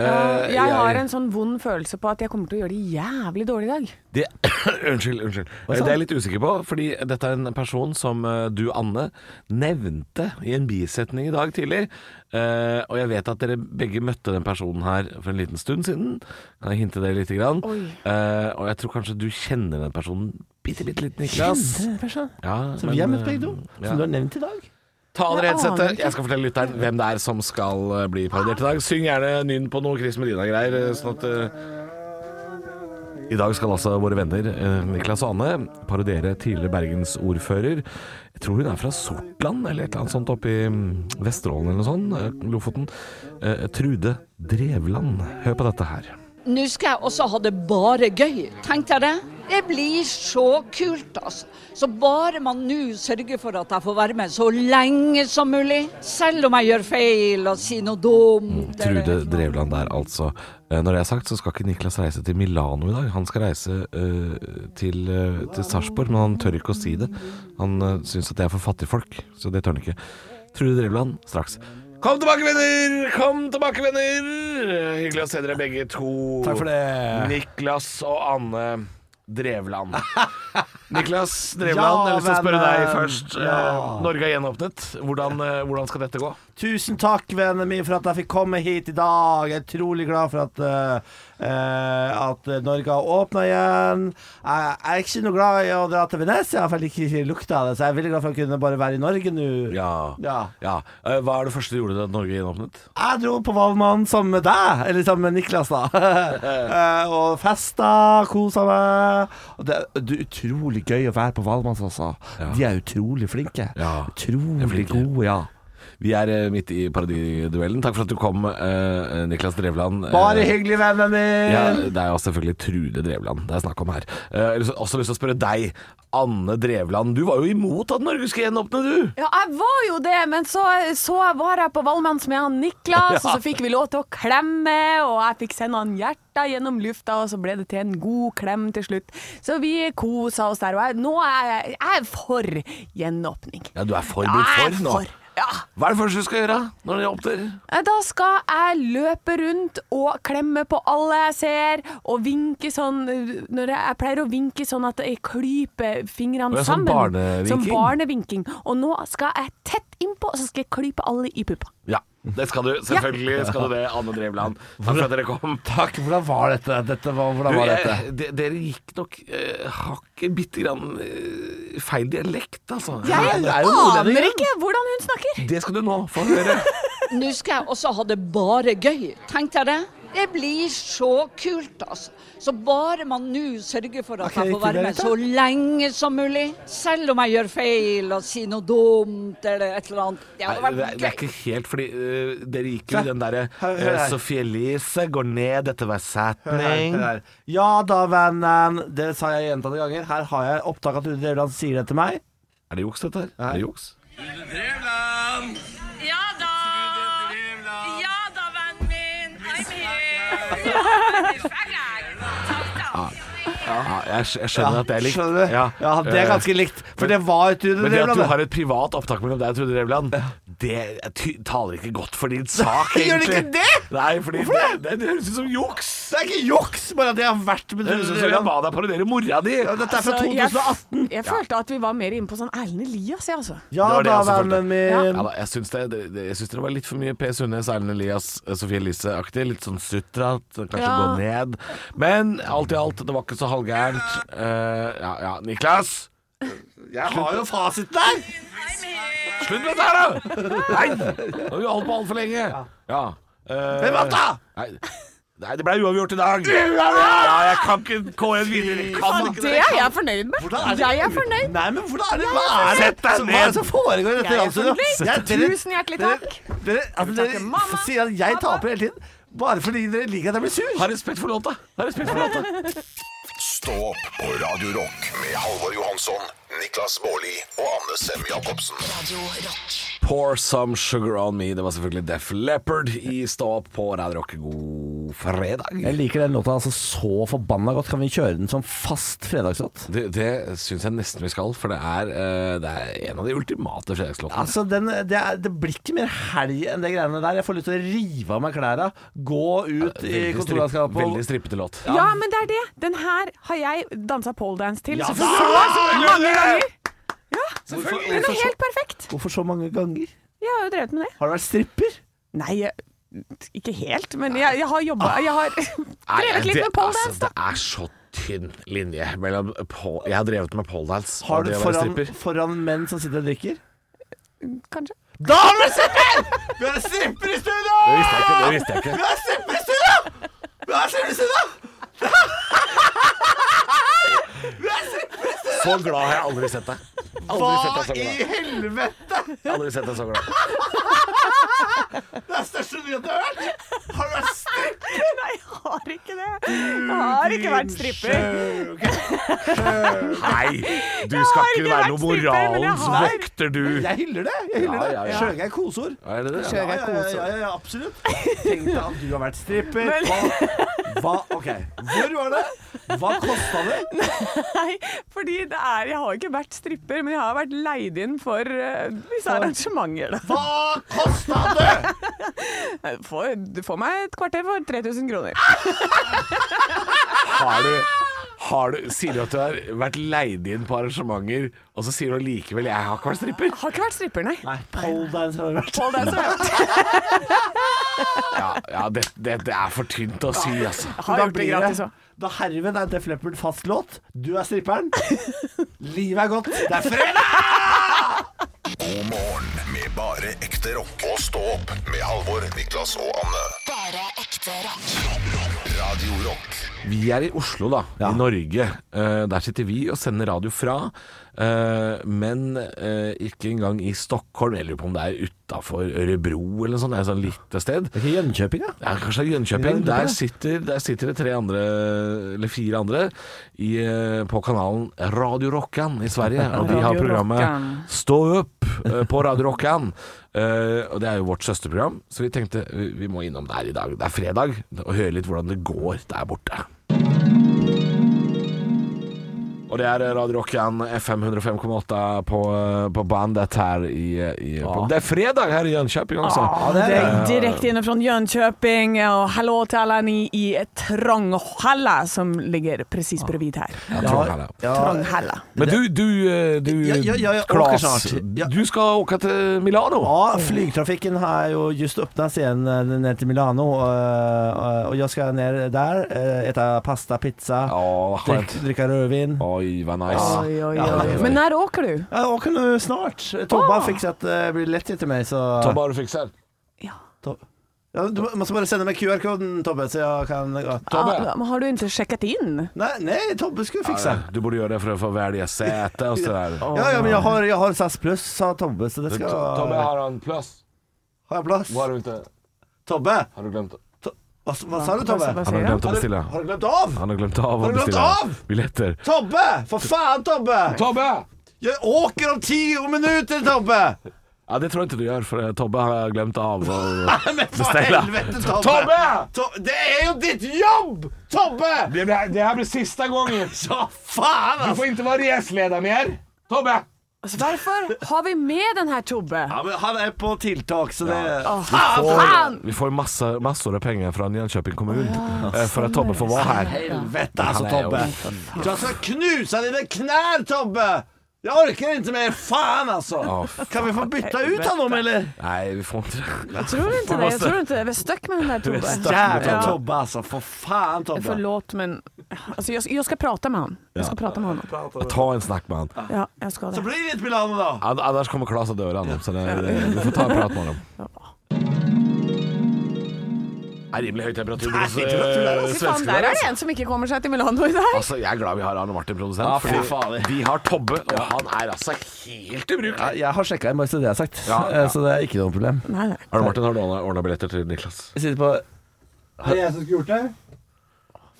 Speaker 4: eh,
Speaker 3: Jeg har en sånn vond følelse på at jeg kommer til å gjøre det jævlig dårlig i dag.
Speaker 4: det, [coughs] Unnskyld. unnskyld Eh, Det er jeg litt usikker på, fordi dette er en person som eh, du, Anne, nevnte i en bisetning i dag tidlig. Eh, og jeg vet at dere begge møtte den personen her for en liten stund siden. Kan jeg hinte det lite grann?
Speaker 3: Oi.
Speaker 4: Eh, og jeg tror kanskje du kjenner den personen bitte, bitte litt, Niklas. Ja,
Speaker 5: Så
Speaker 4: men,
Speaker 5: vi har møtt
Speaker 4: eh,
Speaker 5: begge to.
Speaker 4: ja.
Speaker 5: Som du har nevnt i dag.
Speaker 4: Ta av dere
Speaker 3: Jeg aner
Speaker 4: headsetet.
Speaker 3: ikke.
Speaker 4: Jeg skal fortelle lytteren hvem det er som skal eh, bli parodiert i dag. Syng gjerne nynn på noe Chris Medina-greier. eh, Sånn at eh, I dag skal altså våre venner eh, Niklas og Anne parodiere tidligere bergensordfører. Jeg tror hun er fra Sortland eller et eller annet sånt oppe i mm, Vesterålen eller noe sånt. eh, Lofoten. Eh, Trude Drevland. Hør på dette her.
Speaker 9: Nå skal jeg også ha det bare gøy. Tenk deg det. Det blir så kult, altså. Så bare man nå sørger for at jeg får være med så lenge som mulig. Selv om jeg gjør feil og sier noe dumt. eller-
Speaker 4: Mm. Trude Drevland der, altså. Eh, Når det er sagt, så skal ikke Niklas reise til Milano i dag. Han skal reise eh, til, eh, til Sarpsborg, men han tør ikke å si det. Han uh, syns at det er for fattigfolk, så det tør han ikke. Trude Drevland straks. Kom tilbake, venner! Kom tilbake, venner! Eh, Hyggelig å se dere begge to.
Speaker 5: Takk for det.
Speaker 4: Niklas og Anne
Speaker 5: [laughs]
Speaker 4: Drevland. Niklas Drevland,
Speaker 5: Ja,
Speaker 4: jeg har lyst til å spørre deg
Speaker 5: vennen.
Speaker 4: først. Eh,
Speaker 5: Ja.
Speaker 4: Norge er gjenåpnet. Hvordan, eh, hvordan skal dette gå?
Speaker 5: Tusen takk, vennene mine, for at jeg fikk komme hit i dag. Jeg er utrolig glad for at, eh, eh, at Norge har åpna igjen. Jeg, jeg er ikke noe glad i å dra til Venezia, for jeg liker ikke lukta av det. Så jeg er veldig glad for å kunne bare være i Norge nå.
Speaker 4: Ja.
Speaker 5: Ja.
Speaker 4: Eh, Hva er det første du gjorde da Norge gjenåpnet?
Speaker 5: Jeg dro på Valmann sammen med deg, eller sammen med
Speaker 4: [laughs]
Speaker 5: Niklas, da. Eh, og festa, kosa meg. Og det, det er utrolig gøy å være på Valmanns, altså. De er utrolig flinke.
Speaker 4: Ja,
Speaker 5: Utrolig
Speaker 4: flinke.
Speaker 5: gode, ja.
Speaker 4: Vi er eh, midt i parodiduellen. Takk for at du kom, eh, Niklas Drevland. Eh,
Speaker 5: Bare hyggelig, vennen min!
Speaker 4: Ja, det er jo selvfølgelig Trude Drevland det er snakk om her. Eh, Jeg har lyst- også lyst til å spørre deg, Anne Drevland. Du var jo imot at Norge skulle gjenåpne, du!
Speaker 3: Ja, jeg var jo det, men så, så var jeg på Valmanns med han Niklas, og så fikk vi lov til å klemme, og jeg fikk sende han hjerta gjennom lufta, og så ble det til en god klem til slutt. Så vi kosa oss der, og jeg, nå er jeg, jeg er for gjenåpning.
Speaker 4: Ja, du er for
Speaker 3: Ja, jeg
Speaker 4: blitt
Speaker 3: er
Speaker 4: for nå.
Speaker 3: for, Ja.
Speaker 4: Hva er det første du skal gjøre når det åpner?
Speaker 3: Eh, Da skal jeg løpe rundt og klemme på alle jeg ser, og vinke sånn når jeg, jeg pleier å vinke sånn at jeg klyper
Speaker 4: Å,
Speaker 3: fingrene
Speaker 4: ja,
Speaker 3: sammen.
Speaker 4: sånn barnevinking.
Speaker 3: Som barnevinking. Og nå skal jeg tett innpå, og så skal jeg klype alle i puppa.
Speaker 4: Ja, det skal du. Selvfølgelig skal du det, Anne Drevland. Takk for at dere kom.
Speaker 5: Takk, hvordan var dette? dette var, hvordan
Speaker 4: Du,
Speaker 5: var
Speaker 4: jeg-
Speaker 5: dette?
Speaker 4: de- dere gikk nok eh, hakket bitte grann eh, feil dialekt, altså.
Speaker 3: Jeg
Speaker 5: det er jo nordlendingen.
Speaker 3: aner ikke hvordan hun snakker!
Speaker 4: Det skal du nå få høre.
Speaker 9: Nå skal jeg også ha det bare gøy, tenkte jeg det. Det blir så kult, altså. Så bare man nå sørger for at
Speaker 5: Ok,
Speaker 9: jeg
Speaker 5: ikke
Speaker 9: får være
Speaker 5: det
Speaker 9: med
Speaker 5: litt, da?
Speaker 9: så lenge som mulig. Selv om jeg gjør feil og sier noe dumt eller et eller annet. Det hadde
Speaker 4: Nei, det, er- det er
Speaker 9: vært gøy.
Speaker 4: ikke helt fordi eh, dere gikk jo i den derre
Speaker 5: Hør, hør
Speaker 4: eh,
Speaker 5: her.
Speaker 4: Sophie Elise går ned, dette var
Speaker 5: Hør her,
Speaker 4: setning.
Speaker 5: hør her. Ja da, vennen. Det sa jeg gjentatte ganger. Her har jeg opptak av at Trude Drevland sier det til meg.
Speaker 4: Er det juks, dette her? Er det juks?
Speaker 10: Ja da! Ja da, vennen min! I'm here!
Speaker 4: Ja, jeg, skj- jeg skjønner at det er likt.
Speaker 5: Skjønner du?
Speaker 4: Ja. Eh.
Speaker 5: Ja. det er ganske likt. For det var Trude
Speaker 4: Men det at
Speaker 5: Drevland.
Speaker 4: du har et privat opptak mellom deg og Trude Drevland, det ty taler ikke godt for din sak,
Speaker 5: Gjør
Speaker 4: egentlig.
Speaker 5: det ikke det?
Speaker 4: Nei, fordi det, det, det høres ut som juks.
Speaker 5: Det er ikke juks, bare at jeg har vært
Speaker 4: Det
Speaker 5: med Trude
Speaker 4: høres ut som jeg
Speaker 5: Drevland.
Speaker 4: ba deg parodiere mora di.
Speaker 5: Ja, Dette er fra
Speaker 3: Så Altså, jeg,
Speaker 5: 2018.
Speaker 3: jeg følte at vi var mer inne på sånn Erlend Elias, jeg, altså.
Speaker 5: Ja
Speaker 4: Det var det
Speaker 5: da,
Speaker 4: jeg også følte.
Speaker 5: vennen min.
Speaker 4: Ja da, jeg syns det, det, det, jeg syns det var litt for mye Per Sundnes, Erlend Elias, eh, Sofie Elise-aktig. Litt sånn sutrete, kanskje
Speaker 3: Ja.
Speaker 4: gå ned. Men alt i alt, det var ikke så halvgærent. Eh, ja, ja, Niklas!
Speaker 5: Jeg har jo fasiten der.
Speaker 4: Slutt med dette her, da! Nei! Nå har vi holdt på altfor lenge. Ja. Eh,
Speaker 5: Hvem vant, da?
Speaker 4: Nei, nei, det ble uavgjort i dag. Ja, jeg kan ikke K1 vinner. Jeg Kan ikke
Speaker 3: Det er jeg fornøyd med.
Speaker 5: Hvordan er det-
Speaker 3: Jeg er fornøyd.
Speaker 5: Nei, men hvordan er det? Hva er det?
Speaker 4: Sett deg
Speaker 5: Så, hva er det
Speaker 4: ned.
Speaker 5: som foregår i dette
Speaker 3: Jeg er
Speaker 5: landsstudioet?
Speaker 3: fornøyd. Tusen hjertelig takk.
Speaker 5: Dere, dere, altså,
Speaker 3: Takk til
Speaker 5: dere
Speaker 3: mamma,
Speaker 5: f- sier at jeg taper hele tiden, bare fordi dere liker at jeg blir sur.
Speaker 4: Ha respekt for låta. Ha respekt for låta.
Speaker 2: Stå opp på Radio Rock med Halvor Johansson, Niklas Baarli og Anne Sem Jacobsen.
Speaker 4: Pour Some Sugar On Me. Det var selvfølgelig Def Leppard i Stå opp på Radio Rock. God fredag.
Speaker 5: Jeg liker den låta altså så forbanna godt. Kan vi kjøre den som fast fredagslåt?
Speaker 4: Det, det syns jeg nesten vi skal, for det er, eh, det er en av de ultimate fredagslåtene.
Speaker 5: Altså, den, det, er, det blir ikke mer helg enn det greiene der. Jeg får lyst til å rive av meg klæra, gå ut
Speaker 4: Veldig,
Speaker 5: i
Speaker 4: stripp,
Speaker 5: kontorlandskapet
Speaker 4: veldig
Speaker 5: og
Speaker 4: strippete låt.
Speaker 3: Ja, men det er det. Den her har jeg dansa poledance til.
Speaker 5: Ja,
Speaker 3: så
Speaker 5: da!
Speaker 3: mange ganger. Ja,
Speaker 5: Selvfølgelig.
Speaker 3: Den er helt perfekt.
Speaker 5: Hvorfor så mange ganger?
Speaker 3: Jeg har jo drevet med det.
Speaker 5: Har du vært stripper?
Speaker 3: Nei, jeg- ikke helt, men jeg, jeg har jobba Jeg har [laughs] drevet litt
Speaker 4: det,
Speaker 3: med poledance,
Speaker 4: altså,
Speaker 3: da.
Speaker 4: det er så tynn linje mellom pole Jeg har drevet med poledance
Speaker 5: Har
Speaker 4: og
Speaker 5: du
Speaker 4: det å være
Speaker 5: foran,
Speaker 4: stripper.
Speaker 5: foran menn som sitter og drikker?
Speaker 3: Kanskje. [laughs]
Speaker 5: Da har vi stripper! Vi har stripper i studio!
Speaker 4: Det visste jeg ikke. Det visste jeg ikke.
Speaker 5: Vi har stripper i studio! Vi har stripper i studio!
Speaker 4: Så glad har jeg aldri sett deg. Aldri sett deg så
Speaker 5: Hva i
Speaker 4: glad.
Speaker 5: helvete?
Speaker 4: Aldri sett deg så glad.
Speaker 5: Det er største nyheten jeg har hørt! Har du vært stripper?
Speaker 3: Nei, jeg har ikke det. Jeg har ikke vært stripper.
Speaker 4: Nei, du
Speaker 3: Jeg
Speaker 4: skal
Speaker 3: har
Speaker 4: ikke
Speaker 3: ikke
Speaker 4: være
Speaker 3: vært
Speaker 4: noe
Speaker 3: stripper, men jeg
Speaker 4: moralens
Speaker 3: har-
Speaker 4: vokter, du.
Speaker 5: Jeg hyller det. jeg
Speaker 4: Ja,
Speaker 5: hyller
Speaker 4: ja, ja.
Speaker 5: det Sjøgeir er koseord.
Speaker 4: Er det det?
Speaker 5: Ja, ja, ja, ja, ja, absolutt. Tenk deg at du har vært stripper. Hva, hva, ok, Hvor var det? Hva kosta det?
Speaker 3: [laughs] Nei, fordi det er Jeg har ikke vært stripper, men jeg har vært leid inn for eh, visse arrangementer, da.
Speaker 5: Hva kosta det?
Speaker 3: Får- Du får meg et kvarter for 3000 kroner.
Speaker 4: Har du, har du, sier du at du har vært leid inn på arrangementer, og så sier du likevel 'jeg har ikke vært stripper'?
Speaker 3: Jeg har ikke vært stripper, nei.
Speaker 5: Nei, pole dance har det vært.
Speaker 3: Poledance [laughs] har jeg vært.
Speaker 4: Ja, ja det, det, det er for tynt å si, altså.
Speaker 3: Jeg har gjort det gratis òg.
Speaker 5: Da herved er Def Leppard fast låt. Du er stripperen. Livet er godt. Det er fredag!
Speaker 2: God morgen med bare ekte rock. Og stå opp med Halvor, Niklas og Anne.
Speaker 1: Bare ekte rock.
Speaker 2: Rock, rock, Radio Rock.
Speaker 4: Vi er i Oslo, da. I Norge. Eh, der sitter vi og sender radio fra. Eh, men eh, ikke engang i Stockholm. Jeg lurer på om det er utafor Ørebro eller noe sånt. Det er et sånt lite sted.
Speaker 5: Det er ikke Jönköping, da?
Speaker 4: Ja, kanskje det er
Speaker 5: Ja,
Speaker 4: Jönköping.
Speaker 5: det er
Speaker 4: Der
Speaker 5: det.
Speaker 4: sitter, der sitter det tre andre, eller fire andre, i, eh, på kanalen Radio Rockan i Sverige. Og de har
Speaker 3: Radio Rockan.
Speaker 4: programmet Stå opp eh, på Radio Rockan. Eh, og det er jo vårt søsterprogram, så vi tenkte vi, vi må innom der i dag. Det er fredag, og høre litt hvordan det går der borte. Og det er Radio Rockan FM 105,8 på, eh, på Bandet her i, i på, Det er fredag her i Jönköping, altså.
Speaker 3: det är direkt inne från Jönköping och hallå till alla ni i Trånghalla som ligger precis bredvid här.
Speaker 4: Jeg tror det er det.
Speaker 5: Ja,
Speaker 3: Trånghalla.
Speaker 4: Men du, du, eh, du
Speaker 5: Ja, ja, ja, jeg åker
Speaker 4: Claes,
Speaker 5: snart. Ja.
Speaker 4: du skal åke til Milano.
Speaker 5: Ja, flygtrafikken har jo just öppnats igen eh, ner till Milano eh, och jag ska ner där, eh, äta pasta, pizza,
Speaker 4: Ja,
Speaker 5: drick, dricka rödvin.
Speaker 4: Oi, hva nice.
Speaker 3: Oj, oj, oj. Men när åker du?
Speaker 5: Jag åker nu snart. Tobbe har fixat eh, biljetter till mig så...
Speaker 4: Ta bare og fiks her.
Speaker 5: To- Ja, du måste bara sända mig QR-koden Tobbe så jag kan... Ja.
Speaker 3: Ah, men har du inte checkat in?
Speaker 5: Nej, nej, Tobbe skulle fixa.
Speaker 4: Du burde gjøre det for å få velge sete og sånn så der.
Speaker 5: Ja, ja, men jag har, jag har SAS plus sa Tobbe så det ska...
Speaker 4: Tobbe, har han plass?
Speaker 5: Har jag plass?
Speaker 4: Hva har du ikke?
Speaker 5: Tobbe!
Speaker 4: Har du glemt
Speaker 5: To- Vad, vad sa du Tobbe?
Speaker 3: Vad
Speaker 4: Han
Speaker 3: säger
Speaker 4: har
Speaker 3: jag?
Speaker 4: glemt å bestille.
Speaker 5: Har du glömt av?
Speaker 4: Han har glemt av
Speaker 5: Har
Speaker 4: å
Speaker 5: du glemt
Speaker 4: bestille
Speaker 5: av?
Speaker 4: billetter.
Speaker 5: Tobbe! För fan Tobbe!
Speaker 4: Tobbe!
Speaker 5: Jag åker om tio minuter Tobbe!
Speaker 4: Ja, Det tror jeg ikke du gjør, for eh, Tobbe har glemt av å
Speaker 5: Men for
Speaker 4: bestille.
Speaker 5: helvete, Tobbe!
Speaker 4: Tobbe!
Speaker 5: To- det er jo ditt jobb! Tobbe!
Speaker 4: [laughs] Det, blir- det her blir siste gangen.
Speaker 5: Så faen, altså!
Speaker 4: ikke være reiseleder mer. Tobbe!
Speaker 3: Alltså, varför har vi med den här Tobbe?
Speaker 5: Ja, men han er på tiltak, så det
Speaker 3: Åh,
Speaker 4: Får,
Speaker 3: fan!
Speaker 4: vi får masse, massor av penger fra Jönköping kommun eh, for at Tobbe får være her.
Speaker 5: Helvete, altså,
Speaker 4: Han er jo-
Speaker 5: Tobbe. Jeg skal knuse dine knær, Tobbe! Jeg orker ikke mer. Faen, altså!
Speaker 4: Ja, f-
Speaker 5: Kan vi få bytta ut han om, eller?
Speaker 4: Nei, vi får ikke det.
Speaker 3: Tror du inte det? Jag tror inte det. Vi är stuck med den där
Speaker 4: Vi är
Speaker 3: Tobbe.
Speaker 4: stuck.
Speaker 5: Jævla
Speaker 3: Ja.
Speaker 5: Tobbe, altså. For faen, Tobbe.
Speaker 3: Förlåt men alltså, jag, jag ska prata med han. Jag ska prata med honom.
Speaker 4: Ta en snakk med han.
Speaker 3: Ja, jag ska
Speaker 5: Så
Speaker 3: det.
Speaker 5: blir det ikke Milano, da.
Speaker 4: An- Annars kommer Klas av døra nå, så det, det, du får ta en prat med ham. Det er rimelig høy temperatur hos eh,
Speaker 3: Fy fan, där
Speaker 4: svenskene. der,
Speaker 3: är det
Speaker 4: Altså.
Speaker 3: en som inte kommer sig till Milano idag.
Speaker 4: Altså, jeg er glad vi har Arne Martin produsent,
Speaker 5: Ja, fy
Speaker 4: fordi
Speaker 5: fader.
Speaker 4: vi har Tobbe, og han er altså helt ubrukelig.
Speaker 5: Jeg har sjekka, bare så det er sagt.
Speaker 4: Eh,
Speaker 5: Så det er ikke noe problem.
Speaker 3: Nej, nej.
Speaker 4: Arne Martin har ordna billetter til Niklas.
Speaker 5: Jeg sitter på Er det jeg som skulle gjort det?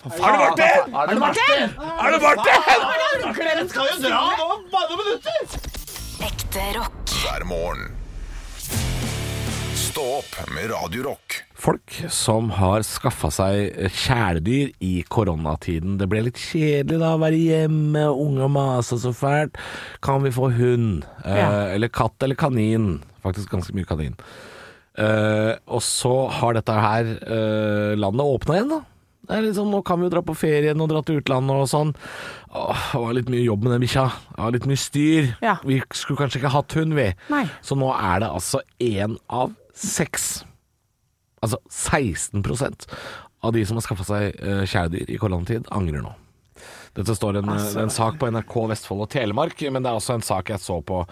Speaker 4: Arne Martin!
Speaker 5: Er det Martin?
Speaker 4: Arne Martin!
Speaker 5: Dere skal jo dra nå om bare noen minutter!
Speaker 1: Ekte rock.
Speaker 2: hver morgen. Stå opp med Radio Rock.
Speaker 4: Folk som har skaffa seg kjæledyr i koronatiden. Det ble litt kjedelig da å være hjemme, unge og mase så fælt. Kan vi få hund? Eh,
Speaker 3: Ja.
Speaker 4: Eller katt eller kanin? Faktisk ganske mye kanin. Eh, og så har dette her eh, landet åpna igjen, da. Det er liksom, nå kan vi jo dra på ferie og dra til utlandet og sånn. Åh, det var litt mye jobb med den bikkja. Det var litt mye styr.
Speaker 3: Ja.
Speaker 4: Vi skulle kanskje ikke hatt hund, vi.
Speaker 3: Nei.
Speaker 4: Så nå er det altså én av seks Altså 16 av de som har skaffa seg eh, kjæledyr i koronatid, angrer nå. Dette står en, eh,
Speaker 3: Altså-
Speaker 4: en sak på NRK Vestfold og Telemark, men det er også en sak jeg så på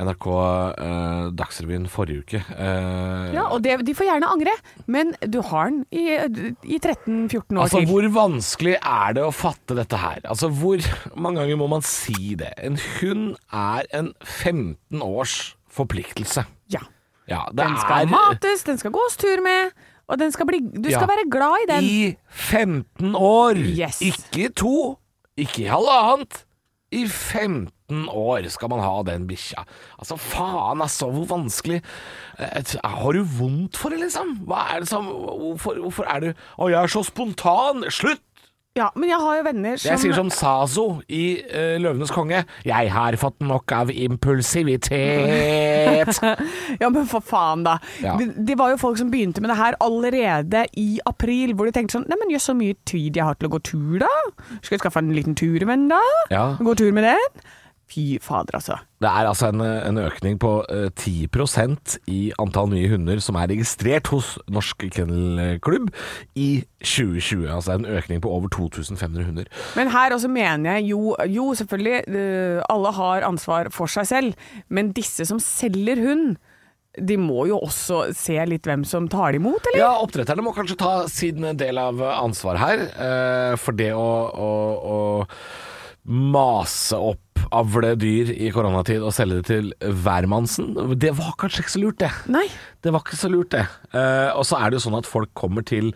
Speaker 4: NRK eh, Dagsrevyen forrige uke. Eh,
Speaker 3: Ja, og det, de får gjerne angre, men du har den i, i 13-14 år
Speaker 4: Altså,
Speaker 3: til.
Speaker 4: hvor vanskelig er det å fatte dette her? Altså, hvor mange ganger må man si det? En hund er en 15 års forpliktelse.
Speaker 3: Ja.
Speaker 4: Ja, det
Speaker 3: Den skal
Speaker 4: er
Speaker 3: mates, den skal gås tur med, og den skal bli, du
Speaker 4: Ja.
Speaker 3: skal være glad i den.
Speaker 4: I 15 år!
Speaker 3: Yes.
Speaker 4: Ikke i to, ikke i halvannet. I 15 år skal man ha den bikkja. Altså, faen, altså, hvor vanskelig Eh, t- Har du vondt for det, liksom? Hva er det som Hvorfor, hvorfor er du Å, jeg er så spontan! Slutt!
Speaker 3: Ja, men jeg har jo venner som
Speaker 4: Jeg sier som Sazo i eh, Løvenes konge. Jeg har fått nok av impulsivitet.
Speaker 3: Ja, men for faen, da.
Speaker 4: Ja.
Speaker 3: Det, det var jo folk som begynte med det her allerede i april, hvor de tenkte sånn Neimen, jøss, så mye tid jeg har til å gå tur, da. Skal jeg skaffe en liten turvenn, da?
Speaker 4: Ja.
Speaker 3: Gå tur med den? Fy fader, altså.
Speaker 4: Det er altså en, en økning på eh, 10 i antall nye hunder som er registrert hos Norsk Kennelklubb i 2020. Altså en økning på over 2500 hunder.
Speaker 3: Men her også mener jeg jo, jo eh, selvfølgelig, øh, alle har ansvar for seg selv, men disse som selger hund de må jo også se litt hvem som tar det imot, eller?
Speaker 4: Ja, oppdretterne må kanskje ta sin del av ansvaret her, eh, for det å, å, å mase opp avle dyr i koronatid og selge det til hvermannsen, det var kanskje ikke så lurt, det.
Speaker 3: Nei.
Speaker 4: Det var ikke så lurt, det. Eh, og så er det jo sånn at folk kommer til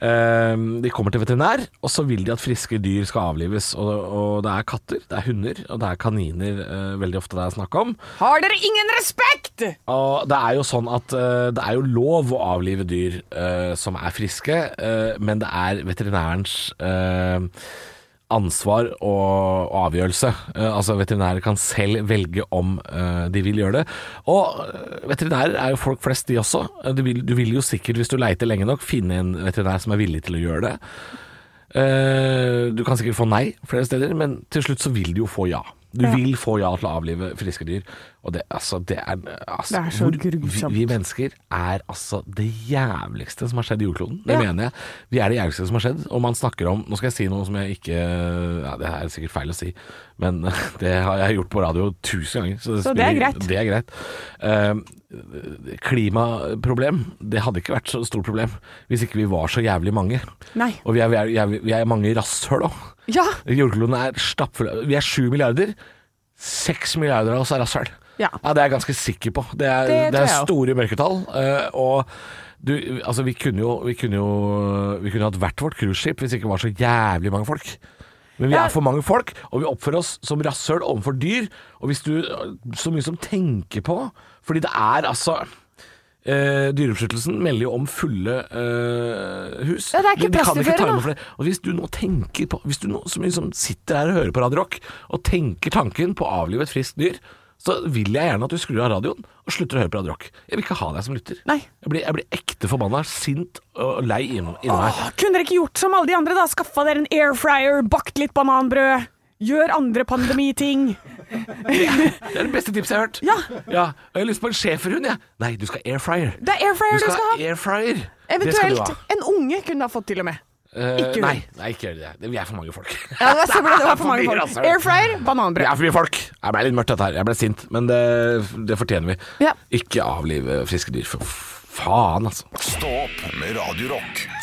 Speaker 4: eh, De kommer til veterinær, og så vil de at friske dyr skal avlives. Og, og det er katter, det er hunder, og det er kaniner eh, veldig ofte det er snakk om.
Speaker 3: Har dere ingen respekt?!
Speaker 4: Og det er jo sånn at eh, det er jo lov å avlive dyr eh, som er friske, eh, men det er veterinærens eh, ansvar og avgjørelse. Eh, altså veterinærer kan selv velge om eh, de vil gjøre det. Og eh, veterinærer er jo folk flest de også. Eh, Du vil, du vil jo sikkert, hvis du leiter lenge nok, finne en veterinær som er villig til å gjøre det. Eh, Du kan sikkert få nei flere steder, men til slutt så vil du jo få ja. Du vil få ja til å avlive friske dyr. Og det, altså, det er, altså,
Speaker 3: Det er så grusomt.
Speaker 4: Vi, vi mennesker er altså det jævligste som har skjedd i jordkloden. Det
Speaker 3: Ja.
Speaker 4: mener jeg. Vi er det jævligste som har skjedd. Og man snakker om Nå skal jeg si noe som jeg ikke ja, Det er sikkert feil å si, men [laughs] det har jeg gjort på radio tusen ganger. Så det,
Speaker 3: Så det er
Speaker 4: spiller-
Speaker 3: greit.
Speaker 4: Det er greit. Eh, klimaproblem, det hadde ikke vært så stort problem hvis ikke vi var så jævlig mange.
Speaker 3: Nei.
Speaker 4: Og vi er, vi er, vi er, vi er mange rasshøl òg.
Speaker 3: Ja.
Speaker 4: [laughs] Jordkloden er stappfull. av- Vi er sju milliarder. Seks milliarder av oss er rasshøl.
Speaker 3: Ja.
Speaker 4: det er jeg ganske sikker på. Det er, det
Speaker 3: Det tror
Speaker 4: er
Speaker 3: jeg også.
Speaker 4: store mørketall. eh, og du, altså vi kunne jo Vi kunne jo Vi kunne hatt hvert vårt cruiseskip hvis det ikke var så jævlig mange folk. Men vi
Speaker 3: Ja.
Speaker 4: er for mange folk, og vi oppfører oss som rasshøl overfor dyr. Og hvis du eh, så mye som tenker på Fordi det er altså Eh, Dyrebeskyttelsen melder jo om fulle eh, hus.
Speaker 3: Ja, det er ikke
Speaker 4: De- de kan
Speaker 3: plass til
Speaker 4: ikke ta
Speaker 3: flere
Speaker 4: imot
Speaker 3: nå.
Speaker 4: flere. Og hvis du nå tenker på Hvis du nå som, som sitter her og hører på Radio Rock, og tenker tanken på å avlive et friskt dyr, så vil jeg gjerne at du skrur av radioen og slutter å høre på Radio Rock. Jeg vil ikke ha deg som lytter.
Speaker 3: Nei.
Speaker 4: Jeg, blir, jeg blir ekte forbanna, sint og lei inni inni meg.
Speaker 3: Åh, kunne dere ikke gjort som alle de andre, da? Skaffa dere en air fryer, bakt litt bananbrød. Gjør andre pandemiting.
Speaker 4: Det er det beste tipset jeg har hørt.
Speaker 3: Ja.
Speaker 4: og Jeg har lyst på en schæferhund, jeg. Nei, du skal air fryer.
Speaker 3: Det er air
Speaker 4: Du
Speaker 3: fryer du
Speaker 4: skal ha
Speaker 3: skal ha.
Speaker 4: air fryer. Det skal du
Speaker 3: Eventuelt
Speaker 4: ha.
Speaker 3: en unge kunne ha fått, til og med.
Speaker 4: Eh,
Speaker 3: ikke hun.
Speaker 4: nei, nei, ikke gjør det. Det- Vi er for mange folk. [laughs]
Speaker 3: Ja, det var, så ble det var for mange
Speaker 4: Fordi
Speaker 3: folk.
Speaker 4: rasshøl.
Speaker 3: Air fryer,
Speaker 4: Det
Speaker 3: bananbrød.
Speaker 4: er for mye folk. Jeg ble litt mørkt dette her. Jeg ble sint, men det, det fortjener vi.
Speaker 3: Ja.
Speaker 4: Ikke avlive friske dyr. For faen, altså.
Speaker 2: Stå opp med Radio Rock.